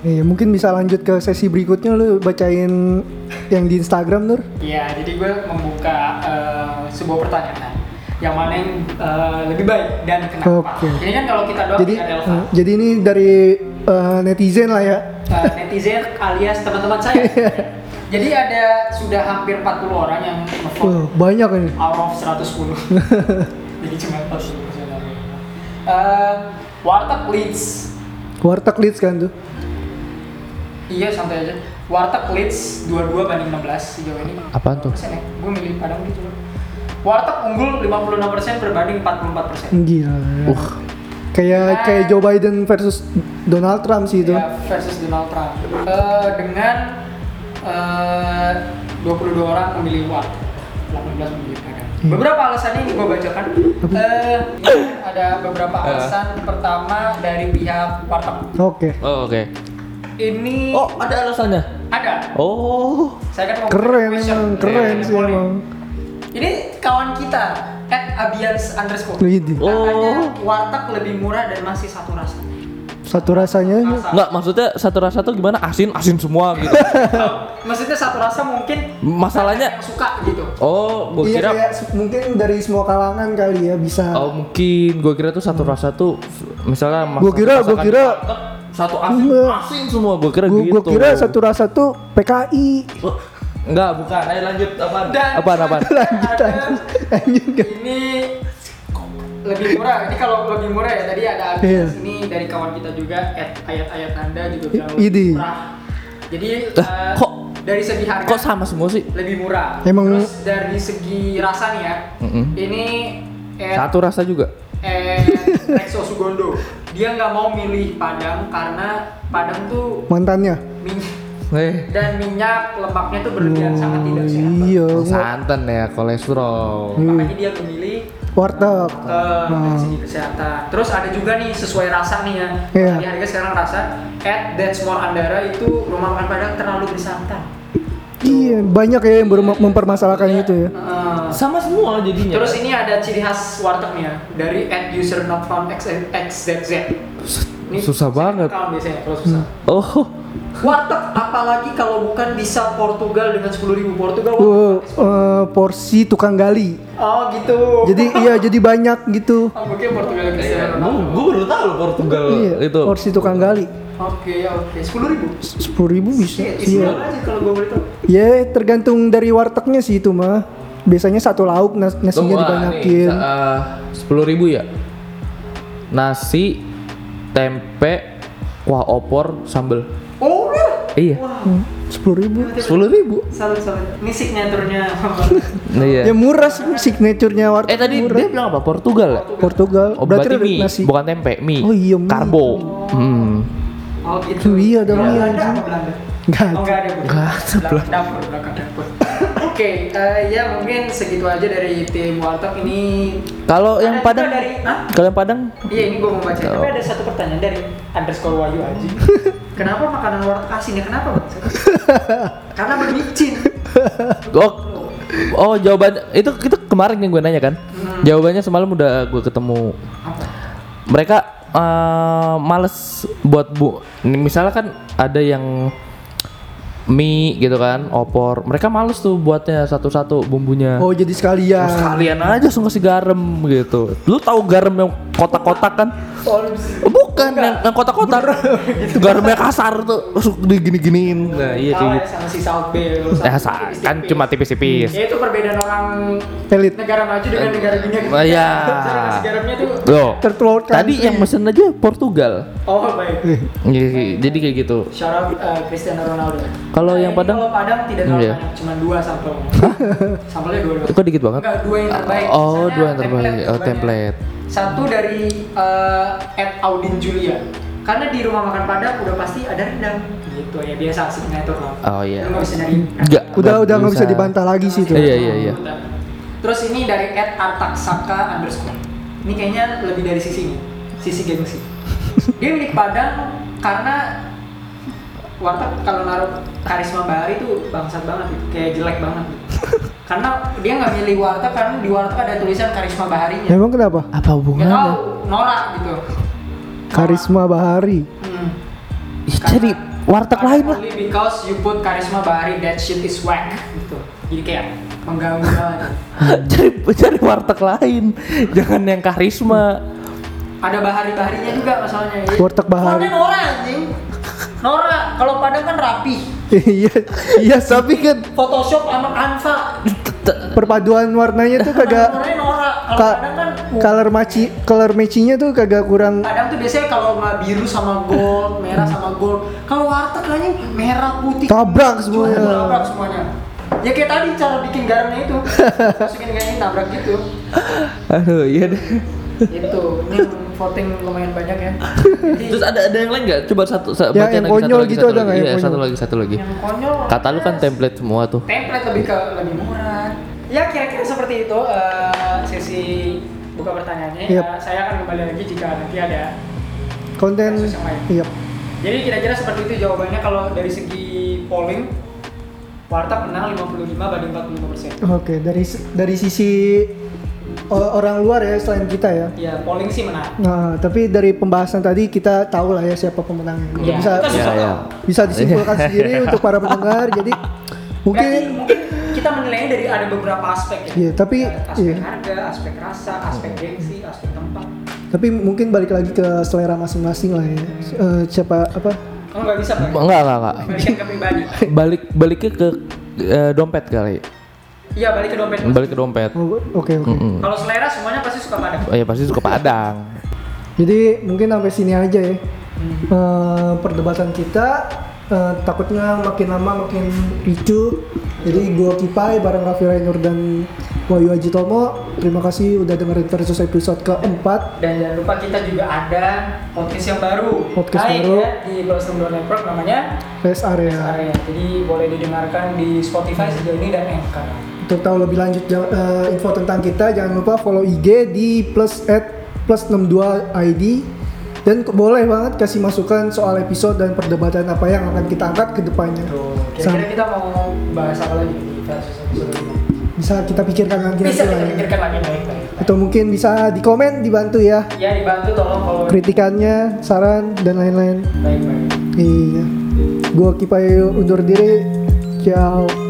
Speaker 1: Iya, mungkin bisa lanjut ke sesi berikutnya lu bacain yang di Instagram Nur.
Speaker 2: ya jadi gue membuka eh, sebuah pertanyaan yang mana yang eh, lebih baik dan kenapa
Speaker 1: Oke.
Speaker 2: ini kan kalau kita doang
Speaker 1: Jadi
Speaker 2: tidak relevan
Speaker 1: eh, jadi ini dari eh, netizen lah ya.
Speaker 2: Eh, netizen alias teman-teman saya jadi ada sudah hampir 40 orang yang ngevote
Speaker 1: Wah, banyak ini.
Speaker 2: out of 110 jadi cuma 40 Eh, warteg Leeds
Speaker 1: Warteg Leeds kan tuh.
Speaker 2: iya santai aja warteg Leeds 22 banding 16 sejauh ini
Speaker 3: Apaan tuh?
Speaker 2: persen ya gue milih Padang gitu loh warteg unggul 56% berbanding 44%
Speaker 1: Gila.
Speaker 3: Uh.
Speaker 1: Kayak kayak Joe Biden versus Donald Trump sih itu.
Speaker 3: Iya.
Speaker 2: ya, versus Donald Trump Eh, dengan eh, 22 orang memilih warteg 18 memilih Padang
Speaker 1: Hmm.
Speaker 2: beberapa alasannya ini gue bacakan Eh, ada beberapa alasan pertama dari pihak warteg
Speaker 1: Oke.
Speaker 3: Oh, oke.
Speaker 2: ini
Speaker 3: Oh, ada alasannya.
Speaker 2: ada
Speaker 3: Oh.
Speaker 2: saya kan mau
Speaker 1: Keren
Speaker 2: question.
Speaker 1: emang, keren
Speaker 3: Iya,
Speaker 2: Ini
Speaker 1: sih
Speaker 2: boleh.
Speaker 1: emang.
Speaker 2: ini kawan kita at abians underscore
Speaker 1: Widih.
Speaker 2: katanya
Speaker 3: Oh.
Speaker 2: warteg lebih murah dan masih satu rasa
Speaker 1: Satu rasanya
Speaker 2: Rasa.
Speaker 3: Enggak, maksudnya satu rasa tuh gimana? Asin, asin semua gitu.
Speaker 2: maksudnya satu rasa mungkin yang
Speaker 3: Masalahnya
Speaker 2: suka gitu
Speaker 3: Oh, gue
Speaker 1: iya
Speaker 3: kira
Speaker 1: kayak se- mungkin dari semua kalangan kali ya bisa.
Speaker 3: Oh, mungkin gue kira tuh satu rasa tuh misalnya masak-
Speaker 1: Gua kira- gua
Speaker 3: masakan
Speaker 1: kira-
Speaker 3: warteg, satu asin,
Speaker 1: Enggak.
Speaker 3: asin semua gue kira
Speaker 1: Gue
Speaker 3: gitu.
Speaker 1: kira satu rasa tuh PKI.
Speaker 3: Oh, Enggak, bukan. Ayo lanjut apa?
Speaker 2: Dan-
Speaker 3: Apa apa?
Speaker 1: lanjut
Speaker 2: Ada-
Speaker 1: lanjut lanjut nggak?
Speaker 2: ini lebih murah ini kalau lebih murah ya tadi ada abians
Speaker 1: Iya.
Speaker 2: ini dari kawan kita juga at ayat-ayat nanda juga
Speaker 1: I-
Speaker 2: bilang
Speaker 1: idih.
Speaker 2: lebih murah jadi
Speaker 3: Lah,
Speaker 2: eh,
Speaker 3: kok-
Speaker 2: dari segi harga
Speaker 3: Kok sama semua sih?
Speaker 2: lebih murah.
Speaker 1: Emang-
Speaker 2: Terus dari segi rasa nih ya,
Speaker 3: Mm-mm.
Speaker 2: ini eh,
Speaker 3: Satu rasa juga.
Speaker 2: eh Rexo Sugondo, dia nggak mau milih Padang karena Padang tuh
Speaker 1: Mantannya.
Speaker 2: minyak
Speaker 3: Eh,
Speaker 2: dan minyak lemaknya tuh berlebihan
Speaker 1: Oh,
Speaker 2: sangat tidak sehat.
Speaker 1: Iya. gua-
Speaker 3: santan ya, kolesterol.
Speaker 2: Makanya dia memilih
Speaker 1: Warteg.
Speaker 2: eh dari
Speaker 1: Nah.
Speaker 2: segi kesehatan. Terus ada juga nih sesuai rasa nih ya.
Speaker 1: Iya.
Speaker 2: Di harga sekarang rasa at That's More Andara itu rumah makan Padang terlalu bersantan.
Speaker 1: Iya, banyak ya yang baru mem- mempermasalahkan itu ya.
Speaker 2: Eh,
Speaker 3: Sama semua jadinya.
Speaker 2: Terus ini ada ciri khas warteg nih ya dari at user not found X- XZZ. Ini
Speaker 3: Susah banget.
Speaker 2: account biasanya kalau susah.
Speaker 1: Hmm.
Speaker 3: Oh,
Speaker 2: Warteg apalagi
Speaker 1: Oh.
Speaker 2: kalau bukan bisa Portugal dengan 10.000 Portugal.
Speaker 1: Gua, eh, porsi tukang gali.
Speaker 2: Oh gitu.
Speaker 1: Jadi iya jadi banyak gitu.
Speaker 2: Oh, mungkin Portugal Cristiano
Speaker 3: Gue
Speaker 2: Ronaldo.
Speaker 3: gue baru tahu loh Portugal
Speaker 1: Iya,
Speaker 3: itu.
Speaker 1: porsi tukang gali.
Speaker 2: Oke ya oke. Sepuluh ribu.
Speaker 1: Sepuluh ribu bisa.
Speaker 2: Shit, isi
Speaker 1: Iya.
Speaker 2: berapa aja kalau gue boleh tahu?
Speaker 1: Ya tergantung dari wartegnya sih itu mah. Biasanya satu lauk nas- nasinya dibanyakin.
Speaker 3: iya, eh, Sepuluh ribu ya. Nasi, tempe, kuah opor, sambel.
Speaker 2: Oh ya.
Speaker 3: Iya.
Speaker 1: Sepuluh ribu.
Speaker 3: Sepuluh ribu.
Speaker 2: Salut salut. Ini signaturnya.
Speaker 1: Ya
Speaker 3: Iya.
Speaker 1: murah sih signaturenya warteg.
Speaker 3: Eh tadi
Speaker 1: murah.
Speaker 3: dia bilang apa? Portugal. ya?
Speaker 1: Portugal.
Speaker 3: Oh, berarti
Speaker 1: ada
Speaker 3: mie,
Speaker 1: nasi.
Speaker 3: bukan tempe, mie.
Speaker 1: Oh iya, mie.
Speaker 3: Karbo. Hmm.
Speaker 2: oh
Speaker 1: Tuh,
Speaker 2: gitu.
Speaker 1: iya dong, iya,
Speaker 2: Belanda
Speaker 1: anjing.
Speaker 2: apa Belanda?
Speaker 1: Nggak
Speaker 2: Oh,
Speaker 1: ada.
Speaker 2: enggak ada Bu.
Speaker 3: Enggak ada,
Speaker 2: Belakang dapur, belakang dapur. Oke, eh, ya mungkin segitu aja dari tim Warteg ini.
Speaker 3: Kalau yang
Speaker 2: Ada juga
Speaker 3: Padang,
Speaker 2: dari Hah?
Speaker 3: kalau yang Padang,
Speaker 2: Iya, ini gue mau baca.
Speaker 3: Oh.
Speaker 2: Tapi ada satu pertanyaan dari underscore Wayu Aji. Kenapa makanan warteg asin ya? Kenapa? Bang? Karena bermicin.
Speaker 3: oh, oh jawaban itu itu kemarin yang gue nanya kan, jawabannya semalam udah gue ketemu.
Speaker 2: Apa?
Speaker 3: Mereka eh, males buat bu, Nih, misalnya kan ada yang mie gitu kan, opor, mereka males tuh buatnya satu-satu bumbunya.
Speaker 1: Oh jadi sekalian.
Speaker 3: Sekalian aja langsung kasih garam gitu. Lu tahu garam yang kotak-kotak kan? Oh, Bukan yang, yang kotak-kotak. Garamnya kasar tuh, langsung digini-giniin. Nah, iya
Speaker 2: Kalah
Speaker 3: kayak gitu.
Speaker 2: ya sama si South Bay. lu
Speaker 3: Ya,
Speaker 2: sama
Speaker 3: sa-
Speaker 2: tipis-tipis.
Speaker 3: kan cuma tipis-tipis.
Speaker 2: Ya itu perbedaan orang
Speaker 1: Elit.
Speaker 2: negara maju dengan negara dunia.
Speaker 3: Oh, iya.
Speaker 2: Cara ngasih garamnya tuh.
Speaker 3: Loh,
Speaker 1: Tertular
Speaker 3: tadi yang mesen aja Portugal.
Speaker 2: Oh baik.
Speaker 3: Jadi, jadi kayak gitu.
Speaker 2: Shout out eh, Cristiano Ronaldo. Nah,
Speaker 3: Kalau yang
Speaker 2: ini
Speaker 3: Padang?
Speaker 2: Kalau Padang tidak terlalu
Speaker 3: Iya.
Speaker 2: banyak, cuma dua sampel. Sampelnya dua. doang.
Speaker 3: Kok dikit banget?
Speaker 2: Enggak, dua yang terbaik.
Speaker 3: Oh,
Speaker 2: Sisanya
Speaker 3: dua yang terbaik. Oh,
Speaker 2: jawabannya.
Speaker 3: template.
Speaker 2: Satu dari eh, at Audin Julia. Karena di rumah makan Padang udah pasti ada rendang. Gitu ya biasa signature lah.
Speaker 3: Oh, iya.
Speaker 2: Lu nggak bisa nyari.
Speaker 3: Enggak.
Speaker 1: Udah udah nggak bisa dibantah lagi sih itu.
Speaker 3: Iya, iya, iya.
Speaker 2: Terus ini dari at Artaksaka underscore. Ini kayaknya lebih dari sisi ini, sisi gengsi. Dia milik Padang karena warteg kalau naruh karisma Bahari tuh bangsat banget gitu, kayak jelek banget. Gitu. karena dia nggak milih warteg karena di warteg ada tulisan karisma Baharinya.
Speaker 3: Ya,
Speaker 1: Emang kenapa?
Speaker 3: Apa
Speaker 2: Nggak tahu
Speaker 3: hubungannya?
Speaker 2: norak gitu.
Speaker 1: Karisma Bahari.
Speaker 2: Hmm.
Speaker 3: Ih, Jadi warteg
Speaker 2: Karena
Speaker 3: lain lah.
Speaker 2: only Because you put karisma Bahari that shit is whack gitu. Jadi kayak mengganggu banget.
Speaker 3: cari cari warteg lain. Jangan yang karisma.
Speaker 2: ada bahari baharinya juga masalahnya ya.
Speaker 1: Warteg bahari.
Speaker 2: Soalnya Nora anjing Nora kalau Padang kan rapi
Speaker 1: Iya iya tapi kan
Speaker 2: Photoshop sama Canva
Speaker 1: perpaduan warnanya tuh kagak
Speaker 2: Warnanya Nora kalau
Speaker 1: ka-
Speaker 2: Padang kan
Speaker 1: color maci color matchingnya tuh kagak kurang
Speaker 2: Padang tuh biasanya kalau nggak biru sama gold, merah sama gold. Kalau warteg anjing merah putih.
Speaker 1: Tabrak
Speaker 2: Cuma
Speaker 1: semuanya.
Speaker 2: Tabrak semuanya. Ya kayak tadi cara bikin garamnya itu. Masukin kayak ini tabrak gitu.
Speaker 3: Aduh, iya deh.
Speaker 2: Itu ini voting lumayan banyak ya. Jadi,
Speaker 3: Terus ada ada yang lain nggak? Coba satu sa-
Speaker 1: Ya,
Speaker 3: bacain
Speaker 1: yang
Speaker 3: lagi, satu
Speaker 1: konyol
Speaker 3: lagi,
Speaker 1: gitu
Speaker 3: satu
Speaker 1: ada
Speaker 3: lagi.
Speaker 1: nggak yang
Speaker 3: Iya, satu
Speaker 1: konyol?
Speaker 3: lagi, satu lagi.
Speaker 2: yang konyol.
Speaker 3: Kata lu kan
Speaker 2: mas.
Speaker 3: template semua tuh.
Speaker 2: template lebih ke lebih murah ya kira-kira seperti itu eh, sesi buka pertanyaannya
Speaker 1: Yep.
Speaker 2: Eh, saya akan kembali lagi jika nanti ada
Speaker 1: konten.
Speaker 2: Kasus yang lain.
Speaker 1: Iya.
Speaker 2: jadi kira-kira seperti itu jawabannya kalau dari segi polling Warteg menang 55 banding 45 persen
Speaker 1: Oke dari dari sisi o- orang luar ya selain kita ya.
Speaker 2: ya polling sih menang
Speaker 1: Nah tapi dari pembahasan tadi kita tahu lah ya siapa pemenangnya.
Speaker 2: Iya,
Speaker 1: Bisa
Speaker 2: kita susah
Speaker 3: Iya,
Speaker 2: tahu.
Speaker 1: bisa disimpulkan sendiri untuk para pendengar. Jadi
Speaker 2: Berarti
Speaker 1: mungkin
Speaker 2: mungkin kita menilainya dari ada beberapa aspek ya.
Speaker 1: Iya, tapi-
Speaker 2: Ada aspek
Speaker 1: iya.
Speaker 2: harga, aspek rasa, aspek gengsi, aspek tempat.
Speaker 1: tapi mungkin balik lagi ke selera masing-masing lah ya. Eh, siapa apa?
Speaker 2: Kamu nggak bisa bang?
Speaker 3: Enggak, enggak, enggak.
Speaker 2: Balikan ke pribadi.
Speaker 3: Balik baliknya ke eh, dompet kali.
Speaker 2: Iya balik ke dompet.
Speaker 3: Balik ke dompet.
Speaker 1: Oh, Oke oke.
Speaker 3: Mm-mm.
Speaker 2: Kalau selera semuanya pasti suka pada.
Speaker 3: Oh ya pasti suka Padang.
Speaker 1: Jadi mungkin sampai sini aja ya
Speaker 2: Hmm.
Speaker 1: Eh, perdebatan kita. eh, takutnya makin lama makin ricu. Jadi gua Kipai bareng Raffi Rainur dan Wahyu Aji Tomo. Terima kasih udah dengerin versus episode keempat.
Speaker 2: Dan jangan lupa kita juga ada podcast yang baru.
Speaker 1: Podcast
Speaker 2: Naik
Speaker 1: baru. Ya.
Speaker 2: Ya, di Blossom Door Network namanya
Speaker 1: Rest area.
Speaker 2: Area. Jadi boleh didengarkan di Spotify sejauh ini dan Anchor.
Speaker 1: Untuk tahu lebih lanjut ja- eh, info tentang kita, jangan lupa follow IG di plus at plus 62 ID dan ke- boleh banget kasih masukan soal episode dan perdebatan apa yang akan kita angkat ke depannya.
Speaker 2: Tuh,
Speaker 1: Sam-
Speaker 2: Kira-kira kita mau bahas apa lagi di kasus episode ini?
Speaker 1: Bisa kita pikirkan lagi nanti
Speaker 2: Bisa kita
Speaker 1: lah ya.
Speaker 2: pikirkan lagi baik-baik.
Speaker 1: atau mungkin bisa di komen dibantu ya
Speaker 2: Ya dibantu tolong kalau
Speaker 1: kritikannya saran dan lain-lain
Speaker 2: baik-baik.
Speaker 1: iya gua kipayu undur diri ciao